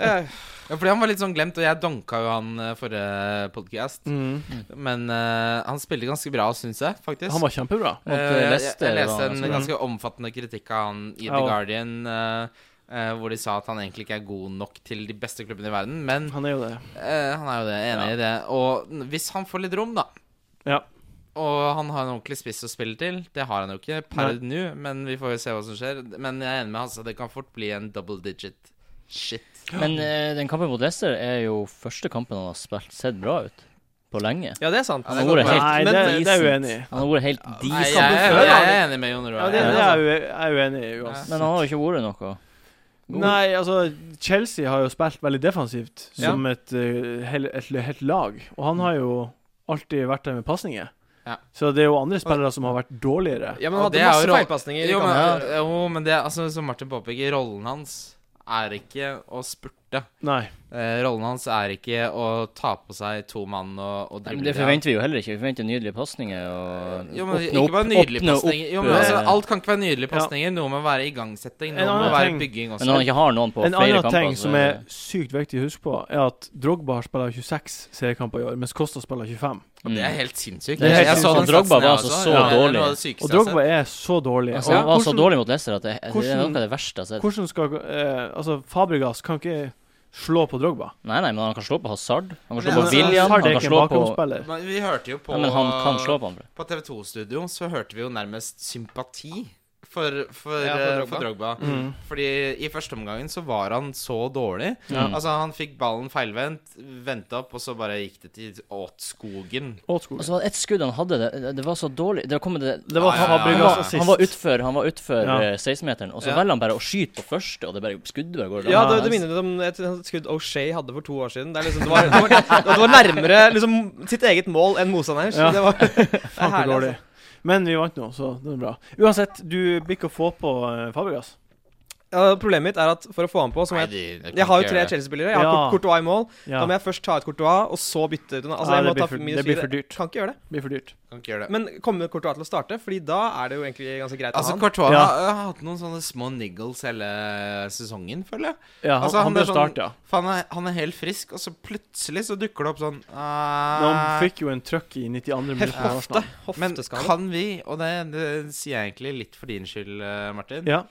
Eh,
ja, fordi han var litt sånn glemt, og jeg donka jo han eh, forrige podcast.
Mm.
Men eh, han spilte ganske bra, syns jeg, faktisk.
Han var kjempebra.
Mot,
Eh,
eh,
jeg-
Leicester
Jeg, jeg
var
leste
han
en
ganske
bra.
ganske omfattende kritikk av han i
Ja,
The
og-
Guardian, eh, eh, hvor de sa at han egentlig ikke er god nok til de beste klubbene i verden. Men
Han er jo det.
eh, han er jo det, enig
Ja.
i det. Og n- hvis han får litt rom, da
Ja.
Og han har en ordentlig spiss å spille til. Det har han jo ikke per nå, men vi får jo se hva som skjer. Men jeg er enig med Hasse, det kan fort bli en double digit shit.
Men eh, den kampen mot Leicester er jo første kampen han har spilt sett bra ut på lenge.
ja, det er sant.
Ja,
Han
går
har vært
bra.
helt
Nei, det,
decent.
det er jeg uenig i.
Han har vært helt
Nei, jeg,
decent.
jeg,
før,
jeg
da.
er enig med Jon
Ja,
Roar.
det, altså.
Ja,
det er jeg ue- jeg uenig i uansett.
Men han har jo ikke vært noe.
Nei, altså Chelsea har jo spilt veldig defensivt
Ja.
som et, eh, hel, et, helt lag. Og han har jo alltid vært der med pasninger.
Ja.
Så det er jo andre spillere som har vært dårligere.
Ja, men
Og
han
det er
hadde
jo
masse
roll-
feilpasninger. i
Jo, men,
kampen.
jo, men det, altså, som Martin påpeker, rollen hans er ikke å spurte borte.
Nei.
Eh, rollen hans er ikke å ta på seg to mann og, og
Nei,
drible
men det
de av.
forventer vi jo heller ikke. Vi forventer nydelige pasninger og
Jo, men
åpne
ikke
opp-
bare nydelige
åpne opp,
pasninger. Jo, men
eh,
altså, alt kan ikke være nydelige pasninger. Noe må være igangsetting,
En
noe må
annen
være
ting-
bygging
Men når
også.
han ikke har noen på
En
flere
annen
kamper
ting
så
som
er
er sykt viktig å huske på, er at Drogba har spiller 26 seriekamper i år, mens Costa spiller 25.
mm.
Det er helt sinnssykt.
Det er
Jeg- jeg
helt
så
sinnssykt.
den
Drogba
satsen, jeg
var altså
også.
så
Ja, det er
dårlig.
noe av det sykeste
Og
jeg har sett.
Drogba er så dårlig.
Altså,
Og
Han var så
hvordan-
dårlig mot Leicester at det, det er
hvordan-
noe av det verste altså. jeg har sett.
Hvordan skal eh, Altså, Fabregas kan ikke slå på Drogba.
Nei, nei, men han kan slå på Hazard. Han kan slå
Ja,
på
men-
Hazard
William. Han
er
kan
ikke en
slå på
bakgrunnsspiller.
Men vi hørte jo på
Nei, men han kan slå på andre.
På TV 2-studio så hørte vi jo nærmest sympati for, for,
Ja, for
eh,
Drogba.
for Drogba.
Mm.
Fordi i første omgangen så var han så dårlig.
Ja.
Mm.
Altså, han fikk ballen feilvendt, venta opp, og så bare gikk det til åt skogen.
Åtskog.
Og så var Altså, det ett skudd han hadde, det, det var så dårlig Det var kommet det
Det var
Ja, ja, ja.
han
Fabregas
var,
assist.
han var utfor, han var utfor
Ja.
eh, 16-meteren, og så
Ja.
velger han bare å skyte på første, og det bare skuddet bare går
Ja, det, det minner litt om et et skudd O'Shay hadde for to år siden. Det, er liksom, det, var, det, var, det var nærmere liksom, sitt eget mål enn motstanders.
Ja.
Det var det er
[laughs] Faen, så
herlig,
dårlig.
altså.
Men vi vant nå, så det er bra. Uansett, du blir ikke å få på eh, Fabregas.
altså. Ja, problemet mitt er at for å få han på, så
Nei,
må jeg
de, de
Jeg har jo
kan ikke
tre
gjøre det.
Chelsea-spillere. Jeg har
Ja.
Cour- Courtois i mål. Da
Ja,
må jeg først ta ut Courtois, og så bytte ut en altså,
Ja,
jeg må
det blir
ta
for-
minus
det blir
fire.
for dyrt.
Kan ikke gjøre det.
blir for dyrt.
Kan ikke gjøre det.
Men kommer Courtois til å starte? Fordi da er det jo egentlig ganske greit å
Altså,
ha han.
Courtois
Ja.
har, har hatt noen sånne små niggles hele sesongen, føler jeg.
Ja, han,
Altså, han
han ble
er sånn-
starta.
For han er, han er helt frisk, og så plutselig så dukker det opp sånn
Men han
eh,
fikk jo en trøkk i 92. minutt.
Hef-
mot
Hofte.
Arsenal.
Men
Hofteskade.
kan vi, og det, det sier jeg egentlig litt for din skyld, eh, Martin,
Ja.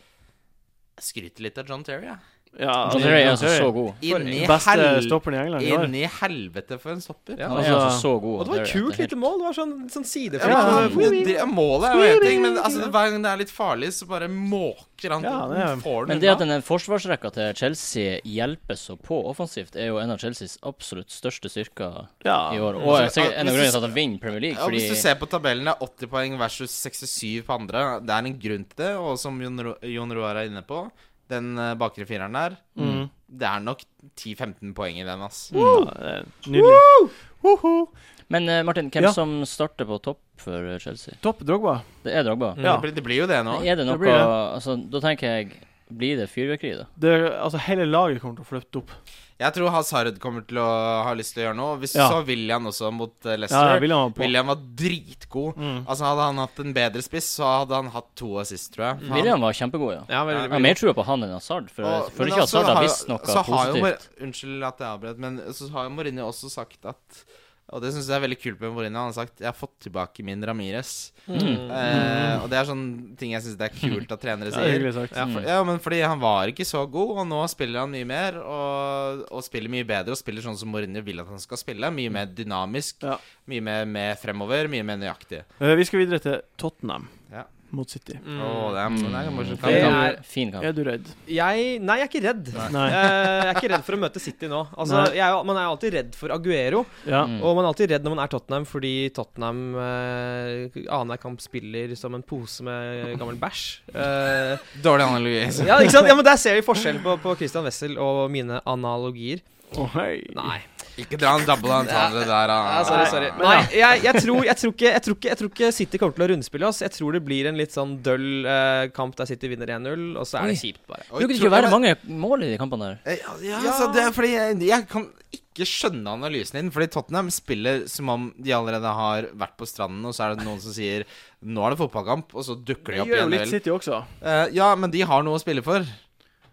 skryte litt av John Terry, ja.
ja
John Terry er altså så god.
Inni, hel
Beste stopperen i England i år.
inni helvete for en stopper.
Ja.
Han er altså
Altså-
så god.
Og det var et
Terry, at
kult
det er
lite mål. Det var sånn, sånn sideflikt.
Ja,
Ja,
men det, det, målet er jo én ting, men altså, det, hver gang det er litt farlig, så bare måker han.
Ja, det er-
får den
Men det at
unna.
denne forsvarsrekka til Chelsea hjelper så på offensivt, er jo en av Chelseas absolutt største styrker
Ja.
i år. Og er
Altså,
sikkert en av
hvis du
grunnene
s-
til at han vinner Premier League.
ja,
Fordi
Hvis du ser på tabellen, det er 80 poeng versus 67 på andre. Det er en grunn til det, og som Jon, Ro Jon Roar er inne på, den eh, bakre fireren der,
Mm.
det er nok 10-15 poeng i den, ass.
Ja, det er nydelig. Woho!
Men eh, Martin, hvem
Ja.
som starter på topp for eh, Chelsea?
Topp Drogba.
Det er Drogba.
Ja.
Det, blir, det blir jo det nå.
Er det
det
noe
blir det.
Altså, da tenker jeg Blir det fyrverkeri, da?
Det, altså, hele laget kommer til å flytte opp.
Jeg tror Hazard kommer til å ha lyst til å gjøre noe. Hvis du
Ja.
så William også mot eh,
Ja,
Leicester.
William var på.
William var dritgod.
Mm.
Altså Hadde han hatt en bedre spiss, så hadde han hatt to assist, tror jeg. Han-
William var kjempegod, ja.
ja,
Jeg har mer trua på han enn Hazard, for jeg
Og- men
føler ikke
altså
Hazard har
jo-
visst noe
så har jo
positivt.
Mor- Unnskyld at jeg avbrøt, men så har jo Mourinho også sagt at Og det syns jeg er veldig kult med Mourinho. Han har sagt 'Jeg har fått tilbake min Ramires'.
Mm.
Eh, og det er sånn ting jeg syns
[laughs]
det er kult at trenere
Ja, det er
sier.
hyggelig sagt.
Ja, for, ja, men fordi han var ikke så god, og nå spiller han mye mer. Og, og spiller mye bedre, og spiller sånn som Mourinho vil at han skal spille.
Mm.
Mye mer dynamisk,
Ja.
mye mer, mer fremover, mye mer nøyaktig.
Eh, vi skal videre til Tottenham
Ja.
mot City.
Mm.
Å, det er, det er en morsom
Fin
kamp.
Det
kamp.
er-
Mm, Fin kamp.
Er du redd?
Jeg Nei, jeg er ikke redd.
Nei.
Eh, jeg er ikke redd for å møte City nå. Altså,
Nei.
jeg, er jo- man er jo alltid redd for Aguero.
Ja.
Mm.
Og man er alltid redd når man er Tottenham, fordi Tottenham eh, annenhver kamp spiller som en pose med gammel bæsj. Eh,
Dårlig analogi.
ja, ikke sant? ja, men Der ser vi forskjell på, på Christian Wessel og mine analogier.
Å, hei.
Nei.
Ikke dra en double entendre der, da.
Ja, sorry, sorry. Nei, jeg, jeg, tror, jeg, tror ikke, jeg, tror ikke, jeg tror ikke City kommer til å rundspille oss. Jeg tror det blir en litt sånn døll eh, kamp der City vinner 1-0, og så er det
Oi.
kjipt, bare.
Oi,
Bruker det
tror-
ikke å være
ja, men-
mange mål i de kampene der?
Ja, ja, altså, det er fordi jeg, jeg kan ikke skjønne analysen din. Fordi Tottenham spiller som om de allerede har vært på stranden, og så er det noen som sier 'nå er det fotballkamp', og så dukker
Det
de opp
gjør jo
igjen.
litt
vel.
City også.
Eh, ja, men de har noe å spille for.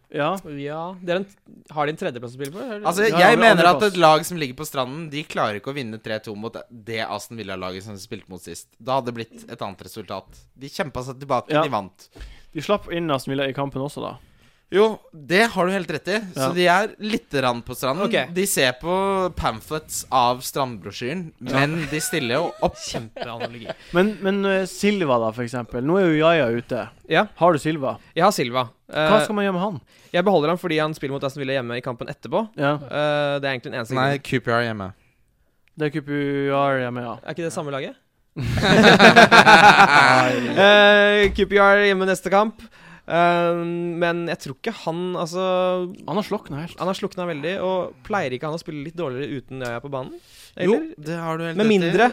Ja.
Ja, det er en, Har de en tredjeplass å spille på? eller?
Altså,
Ja,
Jeg
men
mener at
andreplass.
et lag som ligger på stranden, de klarer ikke å vinne 3-2 mot det Aston Villa-laget som de spilte mot sist. Da hadde det blitt et annet resultat. De kjempa seg tilbake,
Ja.
de vant.
De slapp inn Aston Villa i kampen også, da.
Jo, det har du helt rett i. Så
Ja.
de er lite grann på stranden.
Ok.
De ser på pamphlets av strandbrosjyren, men de stiller jo opp.
Kjempeanalogi.
Men, men eh, Silva, da, for eksempel. Nå er jo Yaya ute.
Ja.
Har du Silva?
Jeg har Silva. Eh,
Hva skal man gjøre med han?
Jeg beholder han fordi han spiller mot Aston Villa hjemme i kampen etterpå.
Ja.
Eh, det er egentlig den eneste
Nei,
grunnen.
QPR hjemme.
Det er Kupuar jeg er med, ja.
Er ikke det samme laget?
Nei.
Eh, QPR hjemme neste kamp. Ehm, men jeg tror ikke han Altså,
Han har slokna helt.
han har slukna veldig, og pleier ikke han å spille litt dårligere uten Jaja på banen?
Jo,
Eller?
det har du helt
Med
rett i.
mindre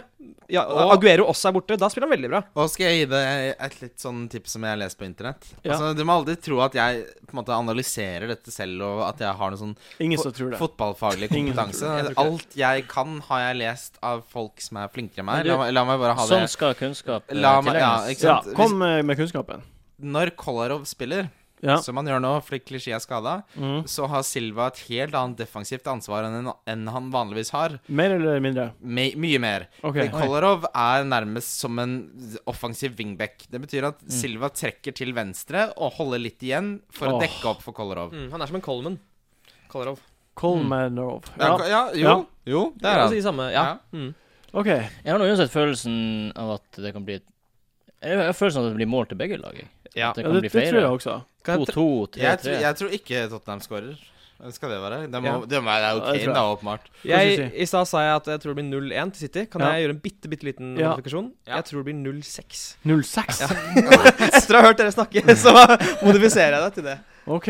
ja,
Og-
Aguero også er borte. Da spiller han veldig bra.
Og skal jeg gi deg et litt sånn tips som jeg har lest på internett.
Ja.
Altså, Du må aldri tro at jeg på en måte analyserer dette selv, og at jeg har noe sånn
Ingen
fo-
som tror det.
fotballfaglig
Ingen som
kompetanse.
tror det. Jeg tror ikke
Alt jeg kan, har jeg lest av folk som er flinkere enn meg.
Men du-
La, meg- la meg bare ha det.
Sånn skal kunnskap eh,
La meg- ja,
tilegnes.
ikke
Ja,
sant?
kom eh, med, med kunnskapen.
Når Kolarov spiller,
Ja.
som han gjør nå fordi klisjé er skada,
Mm.
så har Silva et helt annet defensivt ansvar enn, enn han vanligvis har.
Mer eller mindre?
Me, mye mer.
OK.
Fordi Kolarov er nærmest som en offensiv wingback. Det betyr
Mm.
at Silva trekker til venstre og holder litt igjen for
Åh.
å dekke opp for Kolarov.
Mm, han er som en Coleman. Kolarov.
Kolmanov.
Ja,
Ja,
ja, jo,
Ja.
jo, det
Det
er
er
han.
det samme. Ja.
Ja.
Mm.
OK.
Jeg har nå uansett følelsen av at det kan bli et Jeg har følelsen av at det blir mål til begge lag. jeg.
Ja.
At det
Ja,
kan
det,
bli
det tror jeg
flere.
også.
Kan jeg
2-2,
Jeg, tror-
3-3.
jeg tror ikke Tottenham skårer. Hvem Skal det være? Det, må,
Ja.
det, må, det er jo
Ja, det tror
Kane, da, åpenbart.
Hva skal
Jeg,
jeg
I stad sa jeg at jeg tror det blir 0-1 til City. Kan
Ja.
jeg gjøre en bitte, bitte liten
Ja.
modifikasjon?
Ja.
Jeg tror det blir 0-6.
06.
[laughs] Etter å ha hørt dere [laughs] snakke, så modifiserer jeg deg til det.
OK.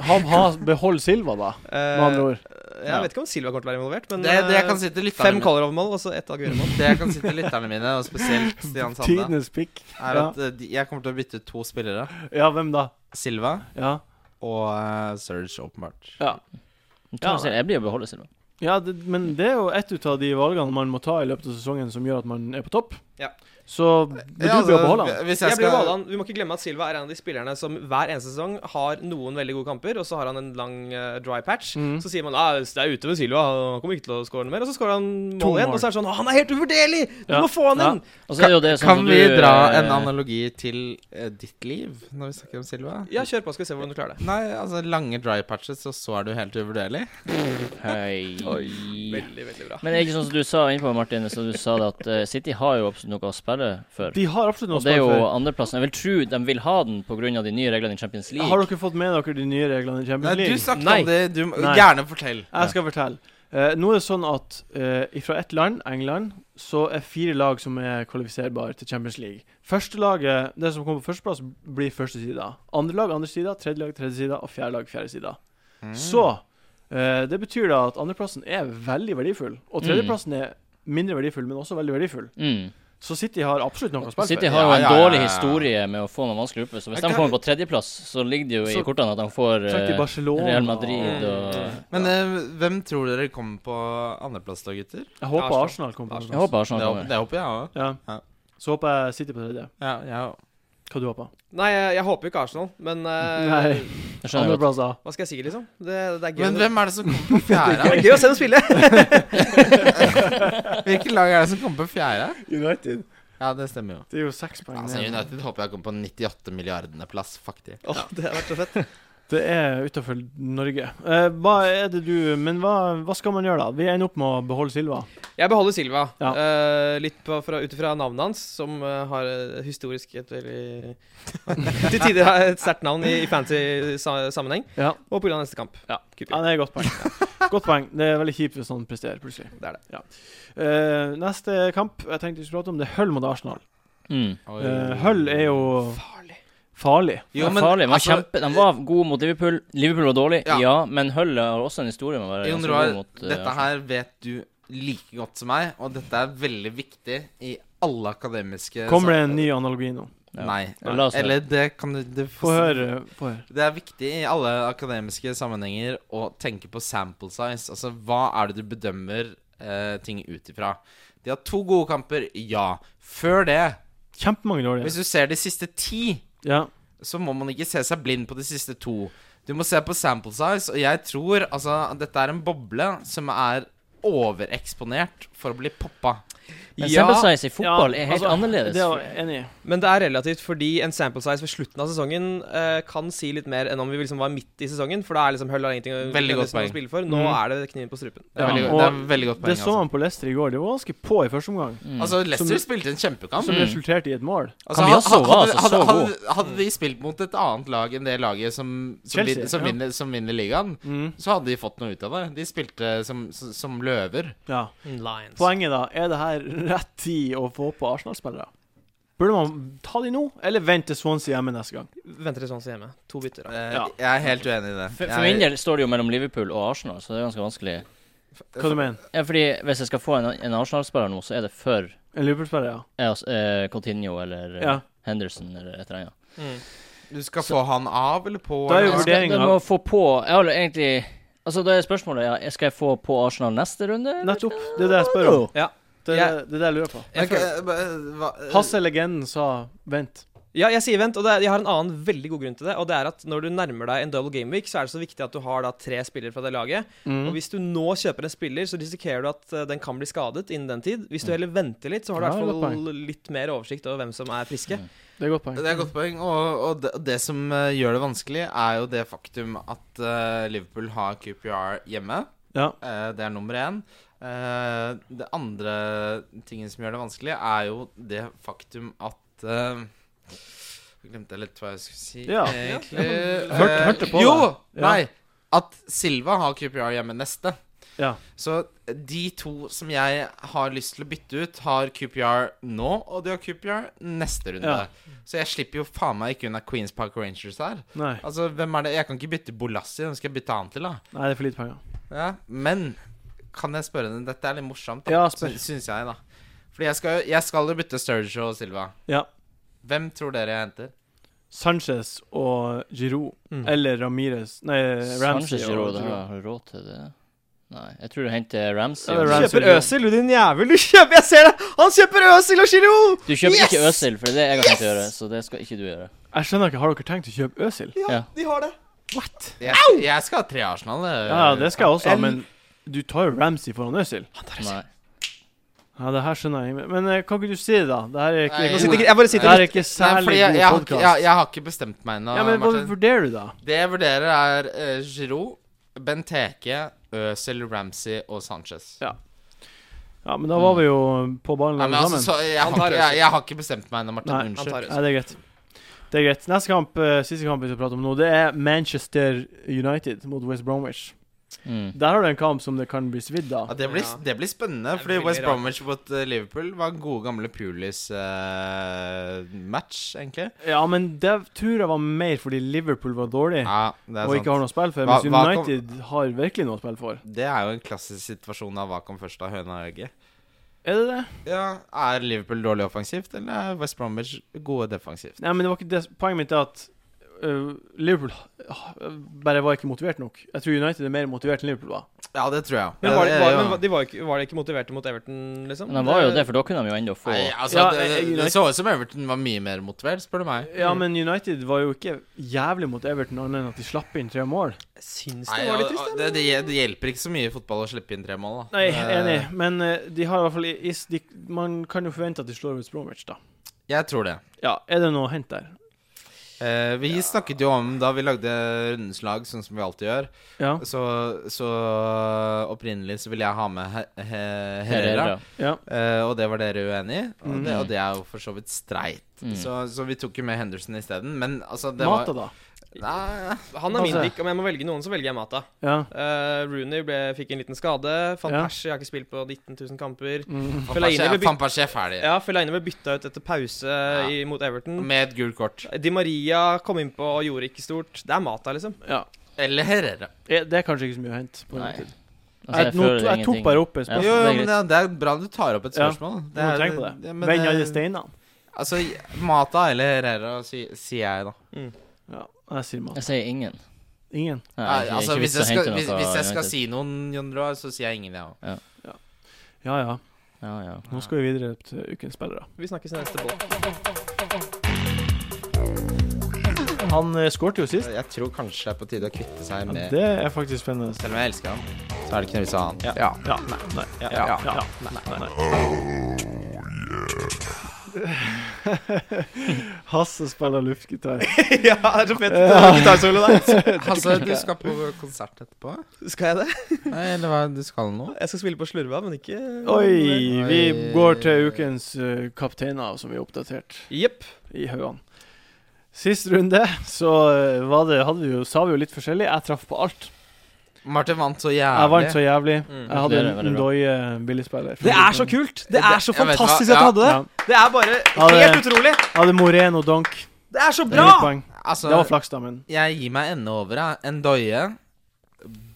Han har behold Silva, da,
Eh,
med andre ord.
jeg vet ikke om Silva kommer til å være involvert, men
Det, det
eh,
kan sitte lytterne
fem
mine,
Kolarov-mål og så ett Aguero-mål.
det kan sitte lytterne mine
[laughs]
og spesielt Stian Sande,
Tidenes pikk.
er at eh, de, jeg kommer til å bytte ut to spillere.
Ja, hvem da?
Silva
Ja.
og eh, Serge, åpenbart.
Thomas sier, Jeg blir å beholde Silva.
Ja, det, men det er jo ett ut av de valgene man må ta i løpet av sesongen som gjør at man er på topp.
Ja.
Så vil du
Ja,
bli å
altså,
beholde han?
Hvis jeg,
Jeg blir
skal-
Haaland. Vi må ikke glemme at Silva er en av de spillerne som hver eneste sesong har noen veldig gode kamper, og så har han en lang eh, dry patch.
Mhm.
Så sier man at det er ute med Silva, han kommer ikke til å skåre noe mer. Og så skårer han
To
mål igjen,
mål.
og så er det sånn «Å, Han er helt uvurderlig! Du
Ja.
må få han
Ja.
inn!
Og så er det jo det sånn
Kan
som
vi
du,
dra
eh,
en analogi til eh, ditt liv når vi snakker om Silva?
Ja, kjør på, skal vi se hvordan du klarer det.
Nei, altså lange dry patches, og så er du helt uvurderlig.
Hei.
Veldig, veldig bra.
Eh, Men det er ikke sånn som du sa innpå, Martin, så du sa det at eh, City har jo absolutt noe å sperre for.
De har absolutt noe å
Og det er
spille
jo
for.
andreplassen. Jeg vil tro de vil ha den pga. de nye reglene i Champions
Har
League.
dere fått med dere de nye reglene i
Nei,
Champions
du
League?
snakket
Nei.
om det. Du, må-
Nei.
gjerne fortell.
Jeg skal fortelle. Eh, nå er det sånn at eh, fra ett land, England, så er fire lag som er kvalifiserbare til Champions League. Første laget, Det som kommer på førsteplass, blir første sida. Andre lag andre sida, tredje lag tredje sida og fjerde lag fjerde sida.
Mm.
Så eh, det betyr da at andreplassen er veldig verdifull. Og tredjeplassen er mindre verdifull, men også veldig verdifull.
Mm.
Så City har absolutt noe å spille
City
for.
har jo
Ja,
en
ja, ja,
dårlig
ja.
historie med å få noen vanskelig gruppe, så hvis
Jeg kan-
de kommer på tredjeplass, så ligger det jo i
Så-
kortene at de får
Tenk til
eh,
Barcelona.
Real Madrid
og-
og
Men eh, hvem tror dere kommer på andreplass da, gutter?
Jeg håper
Arsenal.
Arsenal kommer på
Jeg
andreplass.
håper Arsenal
altså. Det, håper-
kommer.
det håper jeg òg.
Ja.
Ja.
Så håper jeg City på tredje.
Ja, ja.
Hva du håper
Nei, jeg, jeg håper jo ikke Arsenal, men eh,
Nei.
Jeg skjønner
Andreplass,
godt.
da.
hva skal jeg si, liksom? Det, det er gøy.
Men
når-
hvem er det som kommer på fjerde?
det [laughs] er gøy å se dem spille!
Hvilket lag er det som kommer på fjerde?
United.
Ja, det stemmer jo.
Det er jo seks poeng.
Altså,
ned.
United håper jeg kommer på 98 milliardene plass, faktisk.
Åh, det har vært så fett.
det er utafor Norge. Eh, hva er det du Men hva, hva skal man gjøre, da? Vi ender opp med å beholde Silva.
Jeg beholder Silva.
Ja.
eh, litt på- fra- ut ifra navnet hans, som eh, har eh, historisk et veldig [laughs] Til tider har et sterkt navn i, i fantasy-sammenheng.
Ja.
Og pga. neste kamp.
Ja.
Cooper.
ja, det er et godt poeng. [laughs] Godt poeng. Det er veldig kjipt hvis han presterer, plutselig.
Det er det.
Ja. Eh, neste kamp jeg tenkte vi skulle prate om, det er Hull mot Arsenal.
Mm.
Eh, Hull er jo
Farlig.
farlig.
Jo, men, farlig, men
altså,
kjempe, de var gode mot Liverpool. Liverpool var dårlig, ja,
Ja.
men Hull har også en historie med å være
Jon
ganske
Roar,
god mot eh,
dette
Arsenal.
her vet du like godt som meg, og dette er veldig viktig i alle akademiske
Kommer det en ny analogi nå?
Ja.
Nei.
Ja, la oss høre.
Eller det kan du, du
Få høre. Få høre.
Det er viktig i alle akademiske sammenhenger å tenke på sample size. Altså, hva er det du bedømmer eh, ting ut ifra? De har to gode kamper, ja. Før det,
Kjempemange
hvis
dårlige.
du ser de siste ti,
Ja.
så må man ikke se seg blind på de siste to. Du må se på sample size, og jeg tror altså at dette er en boble som er overeksponert for å bli poppa.
Men
Ja,
sample size i fotball
Ja,
er helt
altså,
annerledes.
Det er jeg enig i.
men det er relativt fordi en sample size ved slutten av sesongen eh, kan si litt mer enn om vi liksom var midt i sesongen, for da er liksom Hull har ingenting å,
Veldig godt
nesten å
poeng.
spille for. Nå
Mhm.
er det kniven på strupen.
Det er
Ja,
veldig,
og
det er veldig godt poeng.
Det så man på Leicester i går. Det var ganske på i første omgang,
Mm.
Altså, Leicester
Som-
spilte en kjempekamp.
som resulterte i et mål.
Altså,
Kan vi også
had-
være
hadde, hadde,
altså så
hadde, hadde de spilt mot et annet lag enn det laget som, som,
Chelsea,
vinner, som,
ja.
vinner, som vinner ligaen,
Mm.
så hadde de fått noe ut av det. De spilte som, som, som løver.
Ja.
Lions.
Poenget, da. Er det her rett tid å få på Arsenal-spillere? Burde man ta de nå, eller vente til Swansea hjemme neste gang?
Venter til Swansea hjemme. To bytter. da.
Eh,
Ja.
Jeg er helt uenig i det.
For,
Jeg-
for min del står det jo mellom Liverpool og Arsenal, så det er ganske vanskelig.
Hva du mener
Ja, fordi hvis jeg skal få en, en Arsenal-spiller nå, så er det for
En Liverpool-spiller, ja.
eh, altså, eh, Coutinho eller eh,
Ja.
Henderson eller et eller annet.
Mm.
Du skal få han av eller på?
Da er jo
eller?
Jeg skal-
vurderingen
Jeg må
av-
få på Jeg har egentlig Altså, da er spørsmålet ja, Skal jeg få på Arsenal neste runde? eller?
Nettopp. Det er det jeg spør om.
Ja.
Det er
Jeg-
det, det er det jeg lurer på.
Jeg føler-
Men, eh, hva-
Hasse legenden sa vent.
Ja, jeg sier vent, og det er, jeg har en annen veldig god grunn til det. Og det er at når du nærmer deg en double gameweek, så er det så viktig at du har da tre spillere fra det laget.
Mm.
Og hvis du nå kjøper en spiller, så risikerer du at eh, den kan bli skadet innen den tid. Hvis du heller venter litt, så har du i
Ja, godt
hvert
poeng.
fall litt mer oversikt over hvem som er friske.
Det er et godt poeng.
Det er et godt poeng. Og, og det, det som eh, gjør det vanskelig, er jo det faktum at eh, Liverpool har QPR hjemme.
Ja.
Eh, det er nummer én. Eh, det andre tingen som gjør det vanskelig, er jo det faktum at eh, Glemte jeg litt hva jeg skulle si,
Ja.
egentlig.
Hørte-
Eh,
hørte på
jo!
det. Ja.
Nei! At Silva har QPR hjemme neste.
Ja.
Så de to som jeg har lyst til å bytte ut, har QPR nå, og de har QPR neste runde. Så jeg slipper jo faen meg ikke unna Queens Park Rangers her.
Nei.
Altså, hvem er det? Jeg kan ikke bytte Bolassi, hvem skal jeg bytte han til, da?
Nei, det er for lite penger.
Ja, men kan jeg spørre deg Dette er litt morsomt, da.
Ja, spør.
Sy- Syns jeg, da. Fordi jeg skal, jo- jeg skal jo bytte Sturge og Silva.
Ja.
Hvem tror dere jeg henter?
Sanchez og Giroud
Mm.
eller Ramirez Nei, Ramsey
Sanchez
og
Giroud,
Giroud.
har du råd til det? Nei, jeg tror du henter Ramsey.
Ja, det er
og-
Ramsey.
Kjøper Øsil, du din jævel! Du kjøper, jeg ser det! Han kjøper Øsil og Giro!
Du kjøper ikke
Yes!
Øsil, for det er det jeg har tenkt å gjøre. Så det skal ikke du gjøre.
Jeg skjønner ikke, har dere tenkt å kjøpe Øsil?
Ja,
Ja.
de har det.
What?
Jeg, jeg skal ha tre Arsenal. eh,
Ja, det skal jeg også ha, men du tar jo Ramsey foran Øsil.
Nei.
Ja, det her skjønner jeg ikke. Men eh, kan ikke du si det, da? Det her er ikke,
Nei,
Nå
god-
sitter, ikke- jeg bare
det her
sitter
er ikke
Nei,
særlig
fordi jeg, jeg,
god
har ikke- jeg,
podkast.
jeg har ikke bestemt meg ennå.
Ja, men hva
Martin.
vurderer du, da?
Det jeg vurderer, er eh, Giroud, Benteke, Øzil, Ramsey og Sanchez.
Ja. Ja, men da var vi jo på ballen
Nei, men
alle
altså,
sammen.
så, jeg,
Han
har
tar
ikke, jeg, jeg har ikke bestemt meg ennå, Martin.
Nei,
han tar
Unnskyld.
Øsil.
Ja, det er greit. Det er greit. Neste kamp, eh, siste kamp vi skal prate om nå, det er Manchester United mot West Bromwich.
Mm.
Der har du en kamp som det kan bli svidd
Ja,
av.
det, blir,
Ja.
det blir spennende,
Det er
fordi
veldig
West
rart.
Bromwich mot eh, Liverpool var gode gamle Pulis-match, egentlig.
Ja, men det tror jeg var mer fordi Liverpool var dårlig
Ja, det
og
er
ikke har
sant.
noe spill for.
Hva-
Mens
hva kom-
United har virkelig noe spill for.
Det er jo en klassisk situasjon av hva kom først av høna og egget.
Er det det?
Ja, Er Liverpool dårlig offensivt, eller er West Bromwich gode defensivt?
Nei, men det var ikke det. Poenget mitt er at øh, Liverpool øh, bare var ikke motivert nok. Jeg tror United er mer motivert enn Liverpool var.
Ja, det tror jeg.
Men
Ja,
var, det-
det-
var,
ja.
men var- de var, jo ikke, var de ikke motiverte mot Everton, liksom?
Men han var jo det, for da kunne han jo ennå få
Nei, altså,
Ja,
det,
jeg- jeg-
det så ut som Everton var mye mer motivert, spør du meg.
Ja, men United var jo ikke jævlig mot Everton, annet enn at de slapp inn tre mål.
Jeg syns
Nei,
det var litt
og-
trist,
og
da.
det, det, hjel- det hjelper ikke så mye i fotball å slippe inn tre mål, da.
Nei,
Eh,
enig, men øh, de har i hvert fall is, de, Man kan jo forvente at de slår ut Bromwich, da.
Jeg tror det.
Ja, er det noe å hente der?
Eh, vi snakket jo om da vi lagde rundens lag, sånn som vi alltid gjør,
Ja.
så, så opprinnelig så ville jeg ha med He- He- Herrera.
Herrera.
ja.
Eh, og det var dere uenig i, og, det-
Mm.
og det er jo for så vidt streit.
Mm.
Så, så vi tok jo med Henderson isteden, men altså det
Mata,
var
da.
Nei,
Han er min
Altså-
pick. Om jeg må velge noen, så velger jeg Mata.
Ja.
Eh, Rooney ble, fikk en liten skade. Van
Ja.
Persie har ikke spilt på 19 000 kamper.
Mm.
Fellaini ble bytt-
Fampers er ferdig.
Ja, Fellaini ble bytta ut etter pause i, mot Everton.
Med et gult kort.
Di Maria kom innpå og gjorde ikke stort. Det er Mata, liksom.
ja.
Eller Herrera.
Eh, Det er kanskje ikke så mye å hente. på
Nei.
United.
Altså,
jeg, nå,
føler
jeg tok
ingenting.
bare opp et
Ja,
Jo,
spørsmål.
jo,
det er greit.
men det er bra du tar opp et
Ja.
spørsmål.
Du må tenke på det.
ja, men
Vend
det-
alle steinene.
Altså, Mata eller Herrera, si- sier jeg, da.
Ja, jeg sier Mata.
Jeg sier ingen.
Ingen.
Nei,
Nei,
ikke-
altså, hvis,
ikke vits å
jeg skal,
hente noe
hvis,
fra
hvis jeg skal
United.
si noen, Jon Roar, så sier jeg ingen, jeg òg.
Ja ja.
Ja, ja.
Nå skal vi videre til ukens spillere.
Vi snakkes i neste båt.
Han uh, skårte jo sist.
Jeg tror kanskje det er på tide å kvitte seg
Ja,
med
det er faktisk spennende.
Selv om jeg elsker han, så er det ikke noe vits i å ha han. [laughs]
Ja. Ja. Nei. Nei. Ja. Ja.
Ja.
Ja. Nei. Nei. Oh, [laughs] Hasse spiller luftgitar.
[laughs] ja, det er så fett. Gitarsolo der.
Altså, du skal på konsert etterpå?
Skal jeg det?
Nei, eller hva? Du skal nå?
Jeg skal spille på Slurva, men ikke
Oi, vi
Oi.
går til ukens eh, kapteiner, som vi har oppdatert
Jepp.
i haugene. Sist runde så eh, var det, hadde vi jo, sa vi jo litt forskjellig. Jeg traff på alt.
Martin vant så jævlig.
Jeg vant så jævlig.
Mm.
Jeg hadde
Det er
en
veldig bra.
Ndoye billigspiller.
Det er så kult! Det er så
Jeg vet hva,
fantastisk at du
ja.
hadde det!
Ja.
Det er bare
Ja, det-
helt utrolig!
Jeg hadde Moreno donk.
Det er så
Det,
bra!
er mitt poeng.
Altså,
det var flaks, da, men
Jeg gir meg ende over. jeg. En doie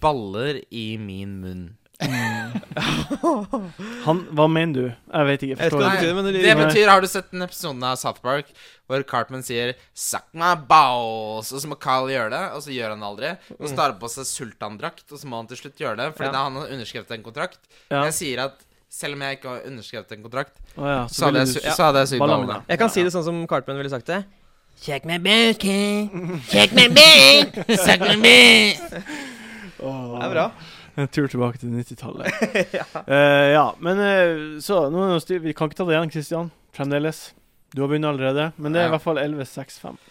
baller i min munn.
han, Hva mener du? Jeg vet ikke.
Jeg vet ikke
Forstår ikke.
hva det betyr, men det
Det
lyder
Nei.
betyr, har du sett den episoden av South Park hvor Cartman sier 'suck my balls', og så må Kyle gjøre det, og så gjør han det aldri. Og så tar han på seg sultandrakt, og så må han til slutt gjøre det, fordi
Ja.
da har han underskrevet en kontrakt.
Ja.
Jeg sier at selv om jeg ikke har underskrevet en kontrakt,
Å ja,
så
ville
hadde jeg,
du-
su så hadde jeg sugd
Ballene
ballene.
Jeg kan si det sånn som Cartman ville sagt det.
Check my bank, king. Check my bank. Check my
[laughs]
bank.
Åh.
Det er bra.
En tur tilbake til 90-tallet.
[laughs]
Eh, ja, men eh, så nå er det jo sti- Vi kan ikke ta det igjen, Christian. Fremdeles. Du har begynt allerede. Men det er i
Ja.
hvert fall 11-6-5.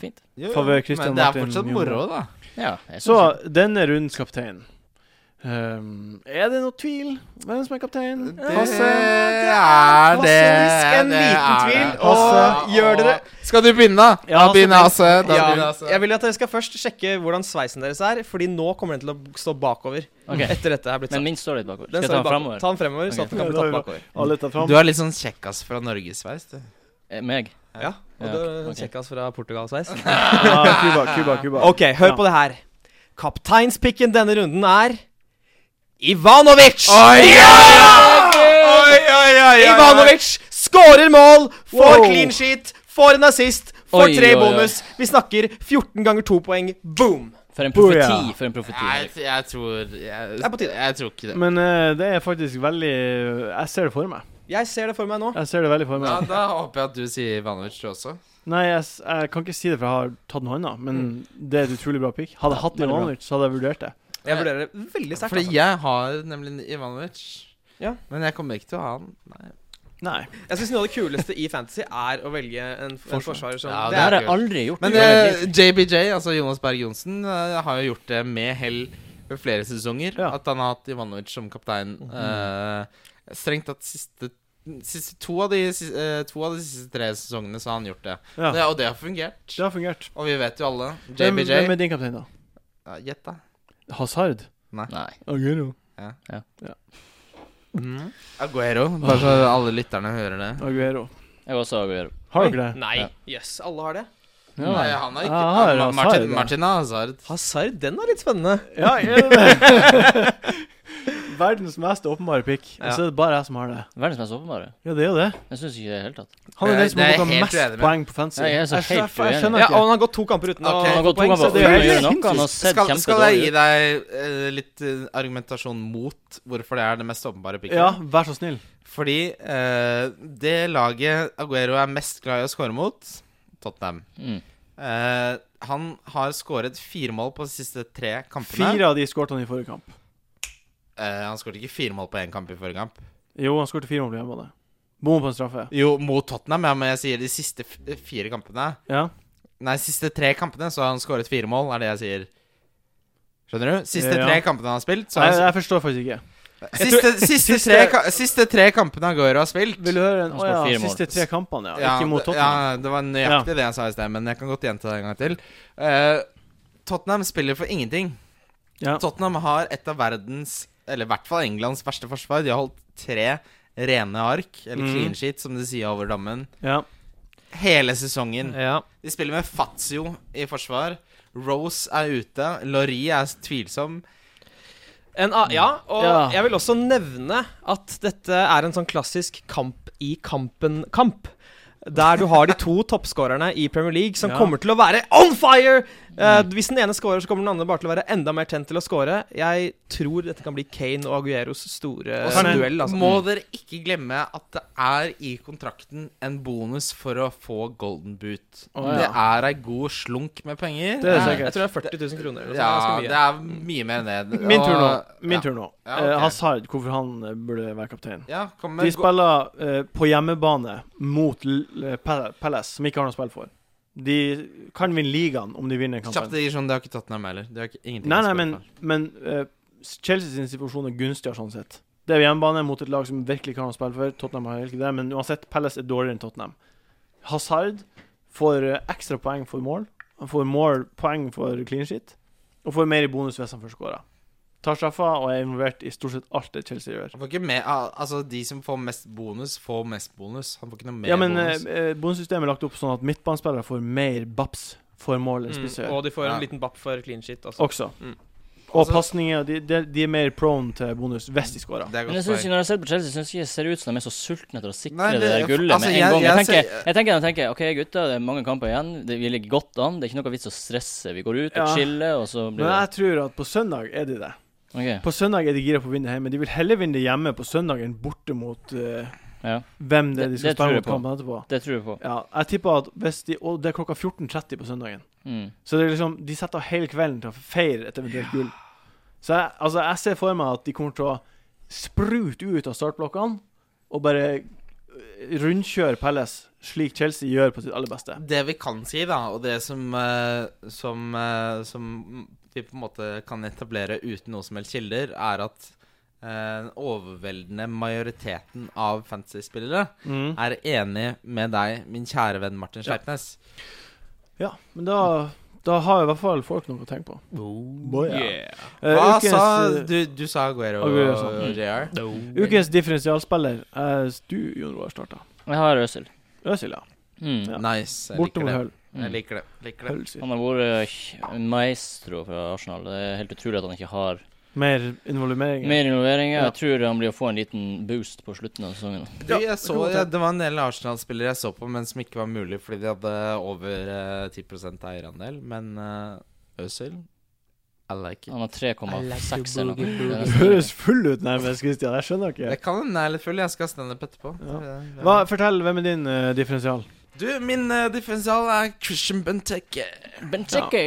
Fint.
Jo, jo,
Favør Christian
Men det er
Martin
fortsatt
Mjølberg.
moro, da.
Ja, jeg synes
Så
det.
denne rundens kaptein Ehm, Er det noe tvil? Hvem som er kaptein? Passe.
er det.
Faktisk en
det
liten
er
tvil,
det.
og
Hasse.
gjør dere-
Skal du begynne, da?
Ja,
da begynner Hasse. Da altså-
Ja,
begynner Hasse.
jeg vil at dere skal først sjekke hvordan sveisen deres er, Fordi nå kommer den til å stå bakover.
Ok,
[laughs] Etter dette er blitt
Men
sagt.
min står litt bakover.
Den
Skal jeg
står
ta
bak-
den framover?
Ta den fremover, så
Ok.
at den kan bli
Ja, det
tatt
er
bakover.
Alle tar fram.
Du er litt sånn kjekkas fra Norgesveis, du.
Eh, Meg?
Ja, og
Ja,
det
ok.
sjekker oss fra Portugal-sveis.
Ja, Cuba, Cuba, Cuba.
[laughs] Ok, hør
Ja.
på det her. Kapteinspikken denne runden er Ivanovic!
Oi, oi, oi, oi.
Ivanovic skårer mål, får
Wow.
clean sheet, får en assist, får
Oi,
tre
oi, oi.
bonus. Vi snakker 14 ganger 2 poeng. Boom!
For en
Booyah.
profeti. For en profeti.
Jeg,
Erik.
jeg tror jeg,
Det er på tide.
Jeg tror ikke det.
Men eh, det er faktisk veldig Jeg ser det for meg.
Jeg ser det for meg nå.
Jeg ser det veldig for
Ja,
meg.
[laughs] da håper jeg at du sier Ivanovic du også.
Nei, jeg, s- jeg kan ikke si det, for jeg har tatt noe annet. Men
Mm.
det er et utrolig bra pick. Hadde jeg hatt
veldig bra.
Ivanovic, så hadde jeg vurdert det.
Jeg vurderer det veldig sterkt.
Fordi
Altså.
jeg har nemlig Ivanovic.
Ja.
Men jeg kommer ikke til å ha han. Nei.
Nei.
Jeg syns noe av det kuleste i fantasy er å velge en, en
Forsvar.
forsvarer som
Ja,
Det har
er
jeg aldri gjort.
Men
i hele mitt
eh,
liv.
JBJ, altså Jonas Berg Johnsen, eh, har jo gjort det med hell ved flere sesonger.
Ja.
At han har hatt Ivanovic som kaptein. Eh, strengt tatt siste, siste to, av de, si- eh, to av de siste tre sesongene så har han gjort det.
Ja,
det og det har fungert.
det har fungert.
Og vi vet jo alle
Hvem,
JBJ
hvem er din kaptein, da?
Ja, Gjett, da.
Hazard?
Nei.
Aguero.
Aguero. Bare så alle lytterne hører det.
Aguero.
Jeg var også Aguero.
Har dere det?
Nei.
Ja.
Jøss, alle har det.
Nei, han har
Jeg
ikke
har
Ma-
Hazard,
Martin,
ja.
Martin har Hazard.
Hazard, den er litt spennende.
[laughs] Ja, er [laughs] det det? Verdens mest åpenbare pick. Og så er det bare jeg som har det.
Verdens mest åpenbare.
Ja, det er jo det.
Jeg syns ikke det i det hele tatt.
Han er
Det er-
den som
det er
har
jeg
gått
helt
mest
uenig med.
poeng på fancy.
Ja, jeg er så helt
skjønner- jeg
uenig.
skjønner
Ja, og
ikke.
han har gått to kamper uten
Ok.
å
Han har
få
gått to
poeng.
ganger
Så det
uten å
er
gjøre noe. Han har
[laughs]
sett
Skal, skal jeg gi
kjempedårlig ut.
deg eh, litt eh, argumentasjon mot hvorfor det er det mest åpenbare picket?
Ja, vær så snill.
Fordi eh, det laget Aguero er mest glad i å score mot, Tottenham
Mm.
Eh, Han har skåret fire mål på de siste tre kampene.
Fire av de skåret han i forrige kamp.
Eh, han skåret ikke fire mål på én kamp i forrige kamp.
Jo, han skåret fire mål på hjemmebane. Bom på en straffe.
Jo, mot Tottenham, ja, men jeg sier de siste f eh, fire kampene.
Ja.
Nei, siste tre kampene så har han skåret fire mål, er det jeg sier. Skjønner du? Siste
Ja.
tre kampene han har spilt, så
Nei,
har han
jeg forstår faktisk ikke.
Siste, siste,
Siste-
tre, ka- siste tre kampene Aguero har spilt
Vil du høre en Å
Han skåret
ja,
fire mål.
siste tre kampene, ja.
Ja,
Ikke mot
det-
Tottenham.
Ja, det var nøyaktig det jeg sa i sted, men jeg kan godt gjenta det en gang til. Eh, Tottenham spiller for ingenting.
Ja.
Tottenham har et av verdens, eller i hvert fall Englands, verste forsvar. De har holdt tre rene ark, eller
Mm.
clean sheet, som de sier over dammen,
Ja.
hele sesongen.
Ja.
De spiller med Fazio i forsvar. Rose er ute. Laurie er tvilsom.
En, a- ja, og
Ja.
jeg vil også nevne at dette er en sånn klassisk kamp i kampen-kamp. Der du har de to [laughs] toppskårerne i Premier League som
Ja.
kommer til å være on fire! Eh, hvis den ene scorer, så kommer den andre bare til å være enda mer tent til å score. Jeg tror dette kan bli Kane og Agueros store
Og
så-
duell. Altså.
Eh, Må
Mm.
dere ikke glemme at det er i kontrakten en bonus for å få golden boot.
Å,
Det
ja.
er ei god slunk med penger.
Det er
Ja,
sikkert.
Jeg tror det er 40 000 kroner. Eller noe
ja,
sånt,
det
det er ganske mye.
er mye mer enn det.
Min tur nå.
Og-
Min
ja.
tur nå.
Ja,
Eh,
ok.
Hazard, hvorfor han eh, burde være kaptein.
Ja, kom med
De
go-
spiller eh, på hjemmebane mot L- eh, Pal- Palace, som ikke har noe spill for. De kan vinne ligaen om de vinner
Kjapt
kampen.
digresjon, det har ikke Tottenham heller. Det har ikke, ingenting
Nei,
å
nei,
spille
men,
for.
men eh, Chelsea sin situasjon er gunstigere sånn sett. Det er hjemmebane mot et lag som virkelig kan ha spill for. Tottenham har ikke det, men uansett, Palace er dårligere enn Tottenham. Hazard får eh, ekstra poeng for mål. Han får mål, poeng for clean shit. og får mer i bonus hvis han først skårer. Tar straffa og er involvert i stort sett alt det Chelsea gjør.
Han får ikke mer al- Altså, de som får mest bonus, får mest bonus. Han får ikke noe mer
Ja, men
bonus.
eh, bonussystemet er lagt opp sånn at midtbanespillere får mer baps for mål enn spisser
Mm, og de får en
Ja.
liten bapp for clean shit. Også.
også.
Mm.
Og
Altså-
pasninger de, de, de er mer prone til bonus hvis de scorer.
Det er
Men jeg
godt
synes,
poeng.
når jeg ser på Chelsea, syns jeg det ser ut som de er så sultne etter å sikre
Nei,
det der
det-
gullet
altså,
med en
jeg-
gang. Jeg,
jeg
tenker,
ser-
jeg tenker, jeg tenker OK, gutter, det er mange kamper igjen. Det, vi ligger godt an. Det er ikke noe vits å stresse. Vi går ut og
Ja.
chiller, og så blir
Men
det
jeg tror at på søndag er de det.
OK.
På søndag er de gira på å vinne hjemme. De vil heller vinne hjemme på søndag enn borte mot eh,
Ja,
hvem det er
Det-
de skal
det tror
spille
jeg
mot kampen etterpå.
det tror jeg på.
Ja, jeg tipper at hvis de Og det er klokka 14.30 på søndagen.
Mm.
Så det er liksom de setter av hele kvelden til å feire et eventuelt gull. Så jeg, altså, jeg ser for meg at de kommer til å sprute ut av startblokkene og bare eh, rundkjøre Pelles, slik Chelsea gjør på sitt aller beste.
Det vi kan si, da, og det som, eh, som, eh, som vi på en måte kan etablere uten noe som helst kilder, er at eh, den overveldende majoriteten av fantasy-spillere
Mm.
er enig med deg, min kjære venn Martin
Ja.
Sleipnes.
Ja, men da, da har i hvert fall folk noe å tenke på.
Oh,
Boy, ja. Eh,
Hva
ukens,
sa
eh,
du? Du sa Aguero og,
Aguero,
og,
sånn.
JR.
Oh,
Ukens differensialspiller er du, Jon Roar, starta.
Jeg har Øzil.
Øsil, ja.
Mm.
Ja.
Nice. Jeg
Borte mot
liker det.
Hull.
Jeg
Mm.
liker det. Liker det.
Hull sier.
Han har vært eh, maestro fra Arsenal. Det er helt utrolig at han ikke har
Mer involvering.
mer involveringer.
Ja.
Jeg tror han blir å få en liten boost på slutten av sesongen.
Du,
Ja,
jeg så,
det kan godt
ja,
hende.
det var en del Arsenal-spillere jeg så på, men som ikke var mulig fordi de hadde over eh, 10 eierandel. Men uh, Øzil I like it.
Han har 3,6 eller
boogie, boogie.
Du
noe. Det er
høres
nesten-
full ut nærmest, Christian. Jeg skjønner
Det
ikke.
kan hende jeg er litt full. Jeg skal ha standup etterpå.
Ja.
Det- det-
Hva, fortell, hvem er din eh, differensial?
Du, min uh, differensial er Christian Benteke.
Benteke!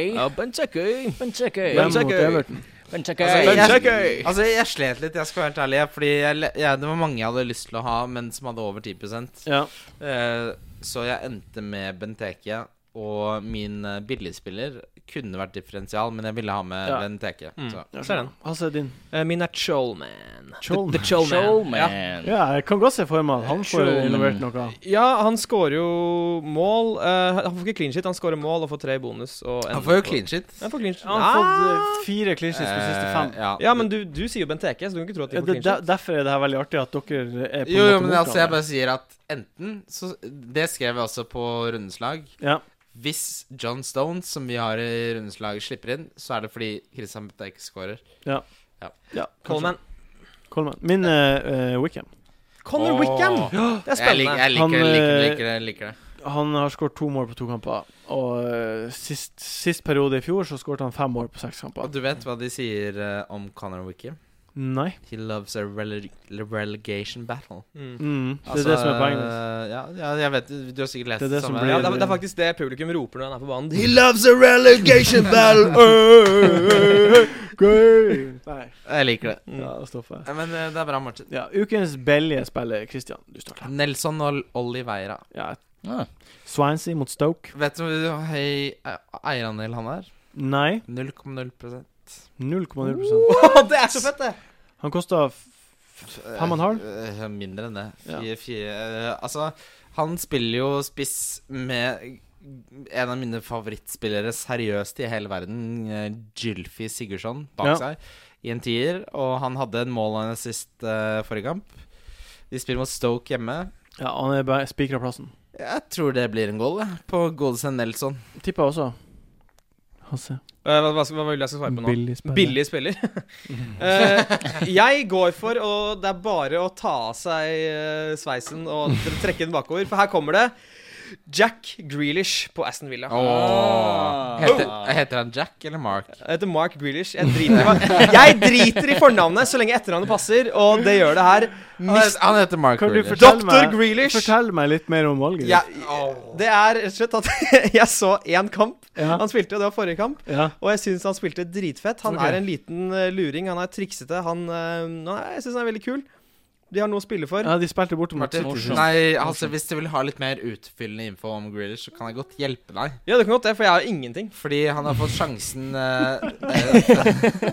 Benteke!
Hvem mot Everton?
Benteke!
Altså, jeg-
Benteke!
Altså, jeg slet litt, jeg skal være helt ærlig. jeg, Fordi jeg, le- jeg, det var mange jeg hadde lyst til å ha, men som hadde over 10
Ja.
Eh, Så jeg endte med Benteke. Og min eh, billigspiller kunne vært differensial, men jeg ville ha med
Ja.
Benteke.
Mm.
Så.
jeg
Så er den.
skjønner. Hasse er din.
Eh, min er Cholman.
Cholman.
The, the Cholman.
Showman!
Ja, jeg kan godt se for meg at han får
Sure.
involvert noe.
Ja, han scorer jo mål. Eh, han får ikke clean shit, han scorer mål og får tre i bonus. Og en-
Han får jo clean shit.
Han får clean shit. Ah!
Han har fått eh, fire clinches på siste fem.
Eh, ja.
Ja, men du, du sier jo Benteke, så du kan ikke tro at de
Ja,
får
det,
clean
der-
shit.
derfor er det her veldig artig at dere er på
Jo, jo,
en
men
måte
altså, jeg
motstandere.
bare sier at enten så Det skrev jeg også på rundeslag.
Ja.
Hvis John Stones, som vi har i rundeslaget, slipper inn, så er det fordi Christian Benteke scorer.
ja.
Coleman.
Coleman. Min eh, eh, Wickham.
Connor
Åh.
Wickham! Det er
Jeg, lik,
spennende.
jeg
Han,
liker det, liker det,
eh,
liker det. liker det
Han har skåret to mål på to kamper. Og eh, sist, sist periode i fjor så skåret han fem mål på seks kamper.
Og du vet hva de sier eh, om Conor Wickham?
Nei.
He loves a rele relegation battle.
Mm.
Mm. Det er
Altså,
det som er poenget.
eh, Ja, ja, jeg vet Du har sikkert lest
Det er det som
Ja,
blir-
det, er, det er faktisk det publikum roper når han er på banen.
He loves a relegation [laughs] battle!
Gøy! Nei.
jeg liker det.
Mm. Ja,
Mm.
da stopper jeg.
Eh, Men eh, det er bra, Martin.
Ja, ukens billige spiller, Christian. Du starter.
Nelson og Oliveira.
Ja.
Ja.
Swansea mot Stoke.
Vet du hvor høy eh, eierandel han er?
Nei.
0,0
0,0
det er så fett, det!
Han kosta Fem og en halv?
Eh, eh, Mindre enn det.
Ja.
Fire, fire eh, Altså, han spiller jo spiss med en av mine favorittspillere seriøst i hele verden, eh, Gylfi Sigurdsson, bak
Ja.
seg i en tier. Og han hadde en mål og en assist eh, forrige kamp. De spiller mot Stoke hjemme.
Ja, han er bare spikra plassen.
Jeg tror det blir en goal, jeg, på Godesen Nelson.
Tipper også. Hasse.
Eh, hva, hva, skal- hva vil jeg skal svare på nå?
Billig spiller.
Billig spiller. [laughs] Eh, jeg går for og det er bare å ta av seg eh, sveisen og trekke den bakover, for her kommer det Jack Grealish på Aston Villa.
Ah.
Heter, heter han Jack eller Mark?
Jeg heter Mark Grealish. Jeg driter, i hva- jeg driter i fornavnet så lenge etternavnet passer, og det gjør det her.
Han heter, han heter Mark
Kan du
Grealish.
fortelle
Dr.
meg,
Grealish.
fortell meg litt mer om valget ditt?
Ja, det er rett og slett at [laughs] jeg så én kamp
Ja.
han spilte, og det var forrige kamp.
ja.
Og jeg syns han spilte dritfett. Han
Ok.
er en liten eh, luring. Han er triksete. Han, eh, han er, jeg syns han er veldig kul. De har noe å spille for.
Ja, de spilte borte mot
Martin,
City.
morsomt.
nei, altså Hvis du vil ha litt mer utfyllende info om Grealish, så kan jeg godt hjelpe deg.
Ja, det kan godt det, for jeg har ingenting.
Fordi han har fått sjansen eh,
[laughs]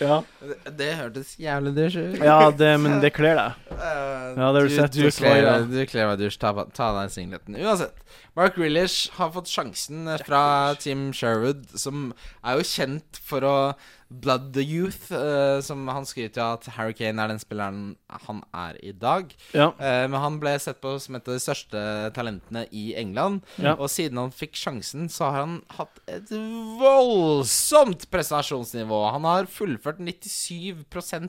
Ja.
Det, det hørtes jævlig dusj ut.
ja, det, men det kler deg.
Eh,
Ja, det har du sett,
Du
du
kler
svarer.
deg- du kler deg dusj. Ta, ta av deg singleten. Uansett. Mark Grealish har fått sjansen eh, fra Team Sherwood, som er jo kjent for å blood the youth. eh, som han skryter av at Harry Kane er den spilleren han er i dag.
Ja.
Eh, men han ble sett på som et av de største talentene i England.
Ja.
Og siden han fikk sjansen, så har han hatt et voldsomt prestasjonsnivå. Han har fullført 97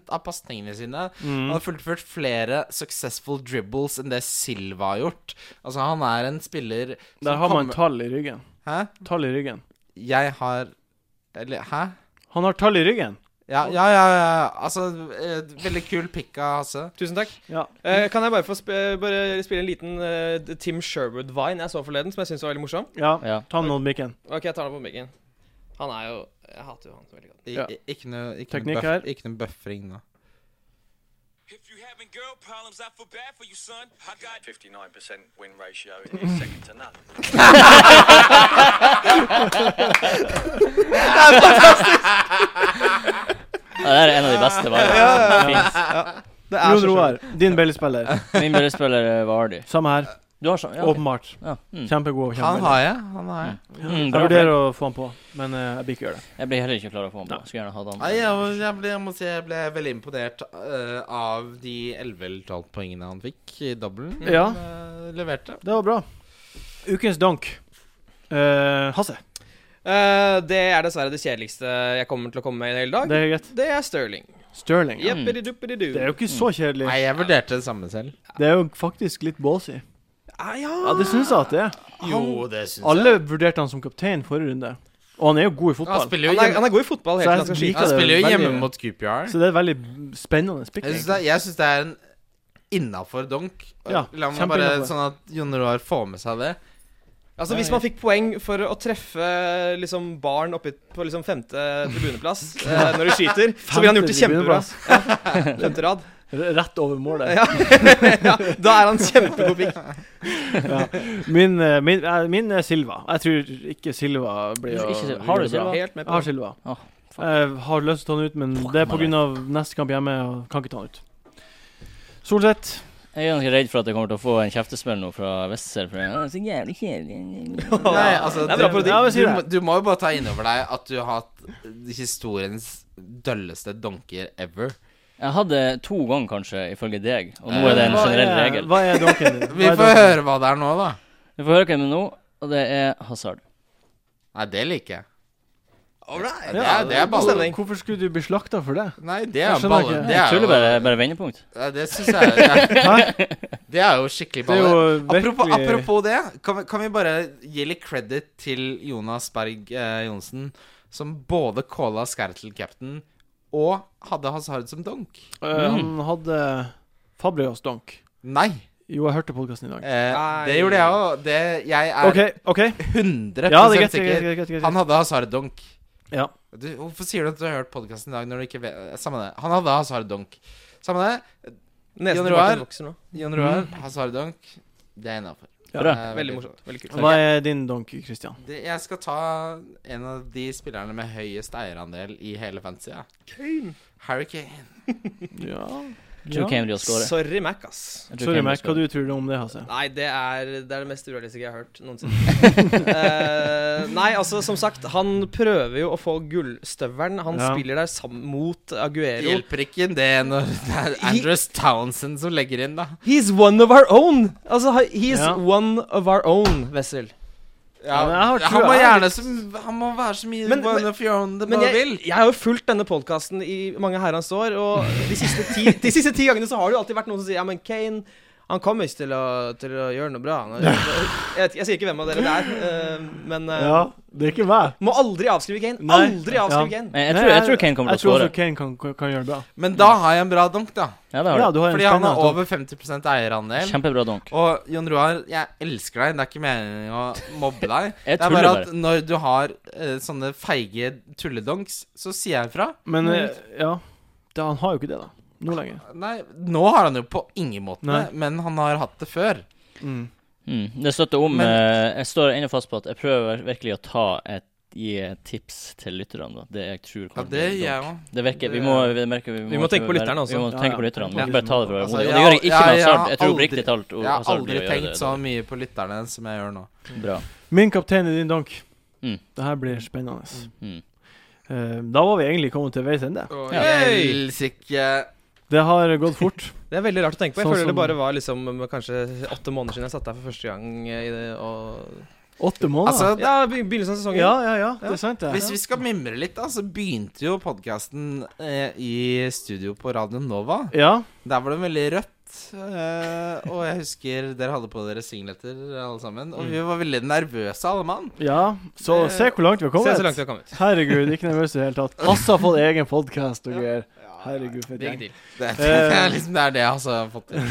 av pasningene sine.
Mm.
Han har fullført flere successful dribbles enn det Silva har gjort. Altså, han er en spiller som
Der har man
kommer-
tall i ryggen.
Hæ?
Tall i ryggen.
Jeg har Eller, hæ?
Han har tall i ryggen!
Ja, ja, ja, ja. Altså, eh, veldig kul pikk av Hasse.
Tusen takk.
Ja.
Eh, kan jeg bare få sp eh, bare spille en liten eh, Tim Sherwood-vine jeg så forleden, som jeg syns var veldig morsom?
ja.
Ja.
Ta den mot mikken.
Ok, jeg tar den på mikken. Han er jo Jeg hater jo han så veldig godt.
I,
Ja.
i- Ikke noe, ikke
Teknikk
noe,
her.
buff, ikke noe buffering nå.
If you having girl problems, I feel bad for you, son. I got
59% win ratio is second to none.
Ja, det er en av de beste valgene.
Det er
Jon
så
Roar, din billigspiller.
Min brødrespiller er Vardy.
Samme her.
Du har sånn? Ja, ok.
Åpenbart.
ja. Mm.
Kjempegod.
Han
Kjempe.
har jeg. Han har jeg.
Mm,
Jeg
bra.
vurderer å få han på, men eh, jeg blir ikke gjøre det.
Jeg ble heller ikke klar over å få han på. Skulle gjerne hatt han.
Nei, jeg, må- jeg, ble, jeg må si jeg ble veldig imponert eh, av de 11 eller 12 poengene han fikk i dobbelen.
Mm. Ja.
eh, leverte.
Det var bra. Ukens donk. Eh, Hasse.
Eh, det er dessverre det kjedeligste jeg kommer til å komme med i hele dag.
Det
Det,
er greit.
er Sterling.
Sterling. Ja.
Jeppidi-duppidi-du.
Det er jo ikke så kjedelig.
Nei, jeg vurderte det samme selv.
Det er jo faktisk litt ballsy.
Ah, ja.
Ja, det syns jeg at det er.
Jo, det syns
Alle vurderte han som kaptein forrige runde, og han er jo god i
Han
fotball.
spiller jo
han, er,
hjemme,
han er god i
Så
fotball, helt
jeg
klart.
liker
skal skyte.
han spiller jo
veldig-
hjemme mot QPR.
Så det er et veldig spennende spill.
Jeg syns
egentlig.
det, jeg synes det er en innafor donk.
Ja,
La meg
kjempe
bare
innenfor.
Sånn at Jon Roar får med seg det.
Altså, hvis man fikk poeng for å treffe liksom, barn oppe på liksom, femte tribuneplass eh, når du skyter, så ville han gjort det
Femte
kjempebra.
tribuneplass.
Ja, Femte rad.
R- [laughs] Rett over målet. [laughs]
Ja. ja, da er han kjempegod pikk.
Min, eh, min, eh, min er Silva. Jeg tror ikke Silva blir å
Ikke Silva.
gjøre
Har du
det bra.
Silva?
Helt med
Jeg
på
har Silva.
Åh, fuck.
jeg har lyst til å ta han ut, men det er
meg.
pga. neste kamp hjemme. Og kan ikke ta han ut. Solseth.
Jeg er ganske redd for at jeg kommer til å få en kjeftesmell nå fra Wessel. For jeg er så jævlig kjedelig.
[laughs] Nei, altså,
Det er bra
du-
parodi.
Ja, men si
du,
det.
må- du må jo bare ta innover deg at du har hatt historiens dølleste donker ever.
Jeg hadde to ganger, kanskje, ifølge deg. Og nå er det en
Hva
generell
er-
regel.
Hva er donken din?
Vi
Hva er
får
donken?
høre hva det er nå, da.
Vi får høre hvem det er nå, og det er Hazard.
Nei, det liker jeg. Ja, det
Ja,
er, det er
god
balle.
stemning.
Hvorfor skulle du bli slakta for det?
Nei, det er
Jeg skjønner
balle.
ikke.
Det
Jeg
er
tuller
jo,
bare, bare vendepunkt.
Ja, det syns jeg det er, [laughs] det er jo skikkelig
Det er
balle.
jo
Apropos,
virkelig-
apropos det, kan vi, kan vi bare gi litt credit til Jonas Berg eh, Johnsen, som både calla Skertel captain og hadde Hazard som donk?
Eh, han
Mm.
hadde Fabrios donk.
Nei.
Jo, jeg hørte podkasten i dag.
Eh,
Nei.
det gjorde jeg òg. Jeg er
OK. ok
100
Ja, det er greit. det er
sikker.
greit, greit, greit, greit.
Eh, Han hadde Hazard-donk.
Ja.
Du, hvorfor sier du at du har hørt podkasten i dag når du ikke vet eh, Samme det. Han hadde Hazard-donk. Samme det.
Nesen
Jon
til
Roar.
Martin vokser nå.
Jon Roar, Hazard-donk. Det er innafor.
Mm.
Eh,
Ja.
Bra.
Veldig morsomt. Veldig kult.
Hva er din donk, Christian?
Det, jeg skal ta en av de spillerne med høyest eierandel i hele fantasy. Ja. Harry Kane.
Ja.
Jeg tror Kane blir å score.
Sorry, Mac, ass.
Jeg tror
Sorry,
Kane blir å
Mac. Hva
score.
du tror du om det, Hasse?
Nei, det er det, er det mest urealistiske jeg har hørt noensinne. Eh, nei, altså, som sagt, han prøver jo å få gullstøvelen. Han
Ja.
spiller der sammen mot
Det
Aguero.
hjelper ikke det [laughs] når det er Andrews Townsend som legger inn, da.
He's one of our own! Altså, he's
Ja.
one of our own, Wessel.
Ja, men jeg har
han
trua.
må
Jeg er
gjerne så, Han må være så mye
Men-
one
men-
of your own det
Men
bare
jeg,
vil.
jeg har jo fulgt denne podkasten i mange herrens år, og de siste ti, de siste ti gangene så har det jo alltid vært noen som sier Ja, men Kane han kommer ikke til å, til å gjøre noe bra. Han- Jeg, vet- jeg sier ikke hvem av dere det er, eh, men eh,
Ja, det er ikke meg.
Må aldri avskrive Kane.
Nei.
Aldri avskrive
Ja.
Kane.
Nei, jeg, tror, jeg tror Kane kommer
Jeg
til å
tror også
score.
Kane kan, kan, kan gjøre det bra.
Men da har jeg en bra donk, da.
Ja,
Ja,
det har du.
du har en
Fordi han
spennende
har
donk.
over 50 eierandel.
Kjempebra donk.
Og Jon Roar, jeg elsker deg. Det er ikke meningen å mobbe deg. det
[laughs] Jeg
er
tuller
bare
bare.
at når du har eh, sånne feige tulledonks, så sier jeg ifra.
Men eh, ja da, Han har jo ikke det, da. nå lenger.
Nei, nå har han jo på ingen måte
Nei.
det, men han har hatt det før.
Mm.
Mm, det støtter om.
Men-
eh, jeg står ennå fast på at jeg prøver virkelig å ta et gi et tips til lytterne. da, Det jeg tror
Ja,
kommer
det
til
gjør
å-
jeg òg.
Det virker, vi
Det-
må, vi merker, vi må,
Vi må tenke på
være-
lytterne også.
Vi må
Ja,
tenke
ja.
på lytterne. Vi
Ja.
kan ikke bare ta det fra
Altså, jeg
hodet. Og det gjør jeg
har-
ikke med
jeg har
hasard. Jeg tror
aldri-
oppriktig talt
Jeg har
hasard blir
aldri
å gjøre
tenkt sånn.
det.
så mye på lytterne som jeg gjør nå.
Bra.
Min kaptein i din donk.
Mm.
Det her blir spennende.
Mm.
Eh, da var vi egentlig kommet til veis ende.
Og
Ja.
Helsike
Det har gått fort.
Det er veldig rart å tenke på. Jeg
Sånn
føler
som-
det bare var liksom eh, kanskje åtte måneder siden jeg satt der for første gang. eh, I det, og
Åtte måneder.
Altså,
ja, be- begynnelsen av sesongen.
ja, ja, ja. Det er sant, det.
Hvis vi skal mimre litt, da, så begynte jo podkasten eh, i studio på Radio Nova.
Ja.
Der var det veldig rødt. Eh, og jeg husker dere hadde på dere singleter, alle sammen. Og vi
Mm.
var veldig nervøse, alle mann.
Ja, så
Eh,
se hvor langt vi har kommet.
Se så langt vi har kommet.
Herregud, ikke nervøs i det hele tatt. Ass har fått egen podkast og greier. Herregud, Eh, for et
Big
gjeng.
deal.
Det, [laughs] det, er liksom, det er det jeg altså har
[laughs]
fått til. Det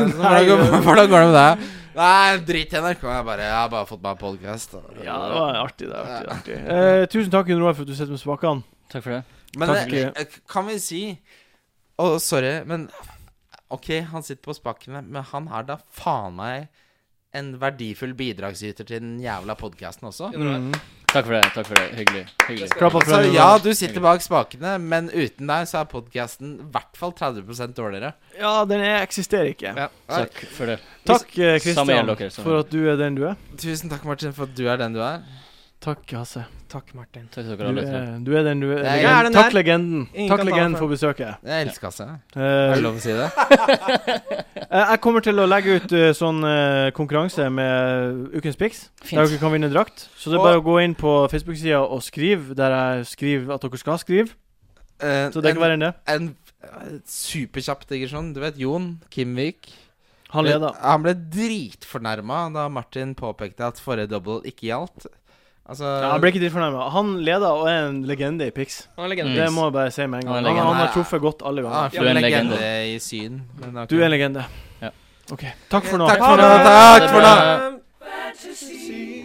er liksom, Hvordan
Nei,
går- hvordan går det med deg? Nei, drit i NRK. Jeg, bare, jeg har bare fått meg podkast.
Ja, det var artig. det var artig, det var artig. Eh, tusen takk, Gunn Roar, for at du sitter med spakene.
Takk for det.
Men
Takk.
eh, eh, kan vi si Å, sorry, men OK, han sitter på spakene, men han er da faen meg en verdifull bidragsyter til den jævla podkasten også.
Mm.
Takk for det. takk for det, Hyggelig. hyggelig.
Klapp opp
Så
for
ja, du sitter bak spakene, men uten deg så er podkasten i hvert fall 30 dårligere.
Ja, den er, eksisterer ikke.
Ja.
Takk for det.
Takk, eh,
Samme
Christian,
gjelder dere, samme
for at du er den du er.
Tusen takk, Martin, for at du er den du er.
Takk, Hasse.
Takk, Martin.
Takk til
Du
dere alle.
eh,
tre.
er, du er den du er.
Jeg er
Legend.
den
Takk,
her.
legenden.
Ingen
Takk,
kan ta
legenden,
meg
for besøket.
Jeg elsker Hasse.
Eh,
Er det lov å si det?
eh, jeg kommer til å legge ut eh, sånn eh, konkurranse med eh, Ukens Pics.
Fint.
Der dere kan vinne drakt. Så det er
Og-
bare å gå inn på Facebook-sida og skrive der jeg skriver at dere skal skrive.
[laughs] Eh,
Så det
en-
kan være enn det.
En eh, superkjapp digresjon. Du vet Jon Kimvik?
Han leda.
Eh,
Han ble dritfornærma da Martin påpekte at forrige double ikke gjaldt. Altså
Ja, jeg ble ikke tilfornærma. Han leda og er en legende i Pix.
Han er legende.
Det må jeg bare si med en gang. Han,
Mm. Han er
han,
legende.
har truffet godt alle
ah,
ganger.
Du er en legende
legende.
i syn. Men ok.
Du er en legende.
Ja.
OK. Takk for nå.
Takk for nå. Takk for nå.
nå.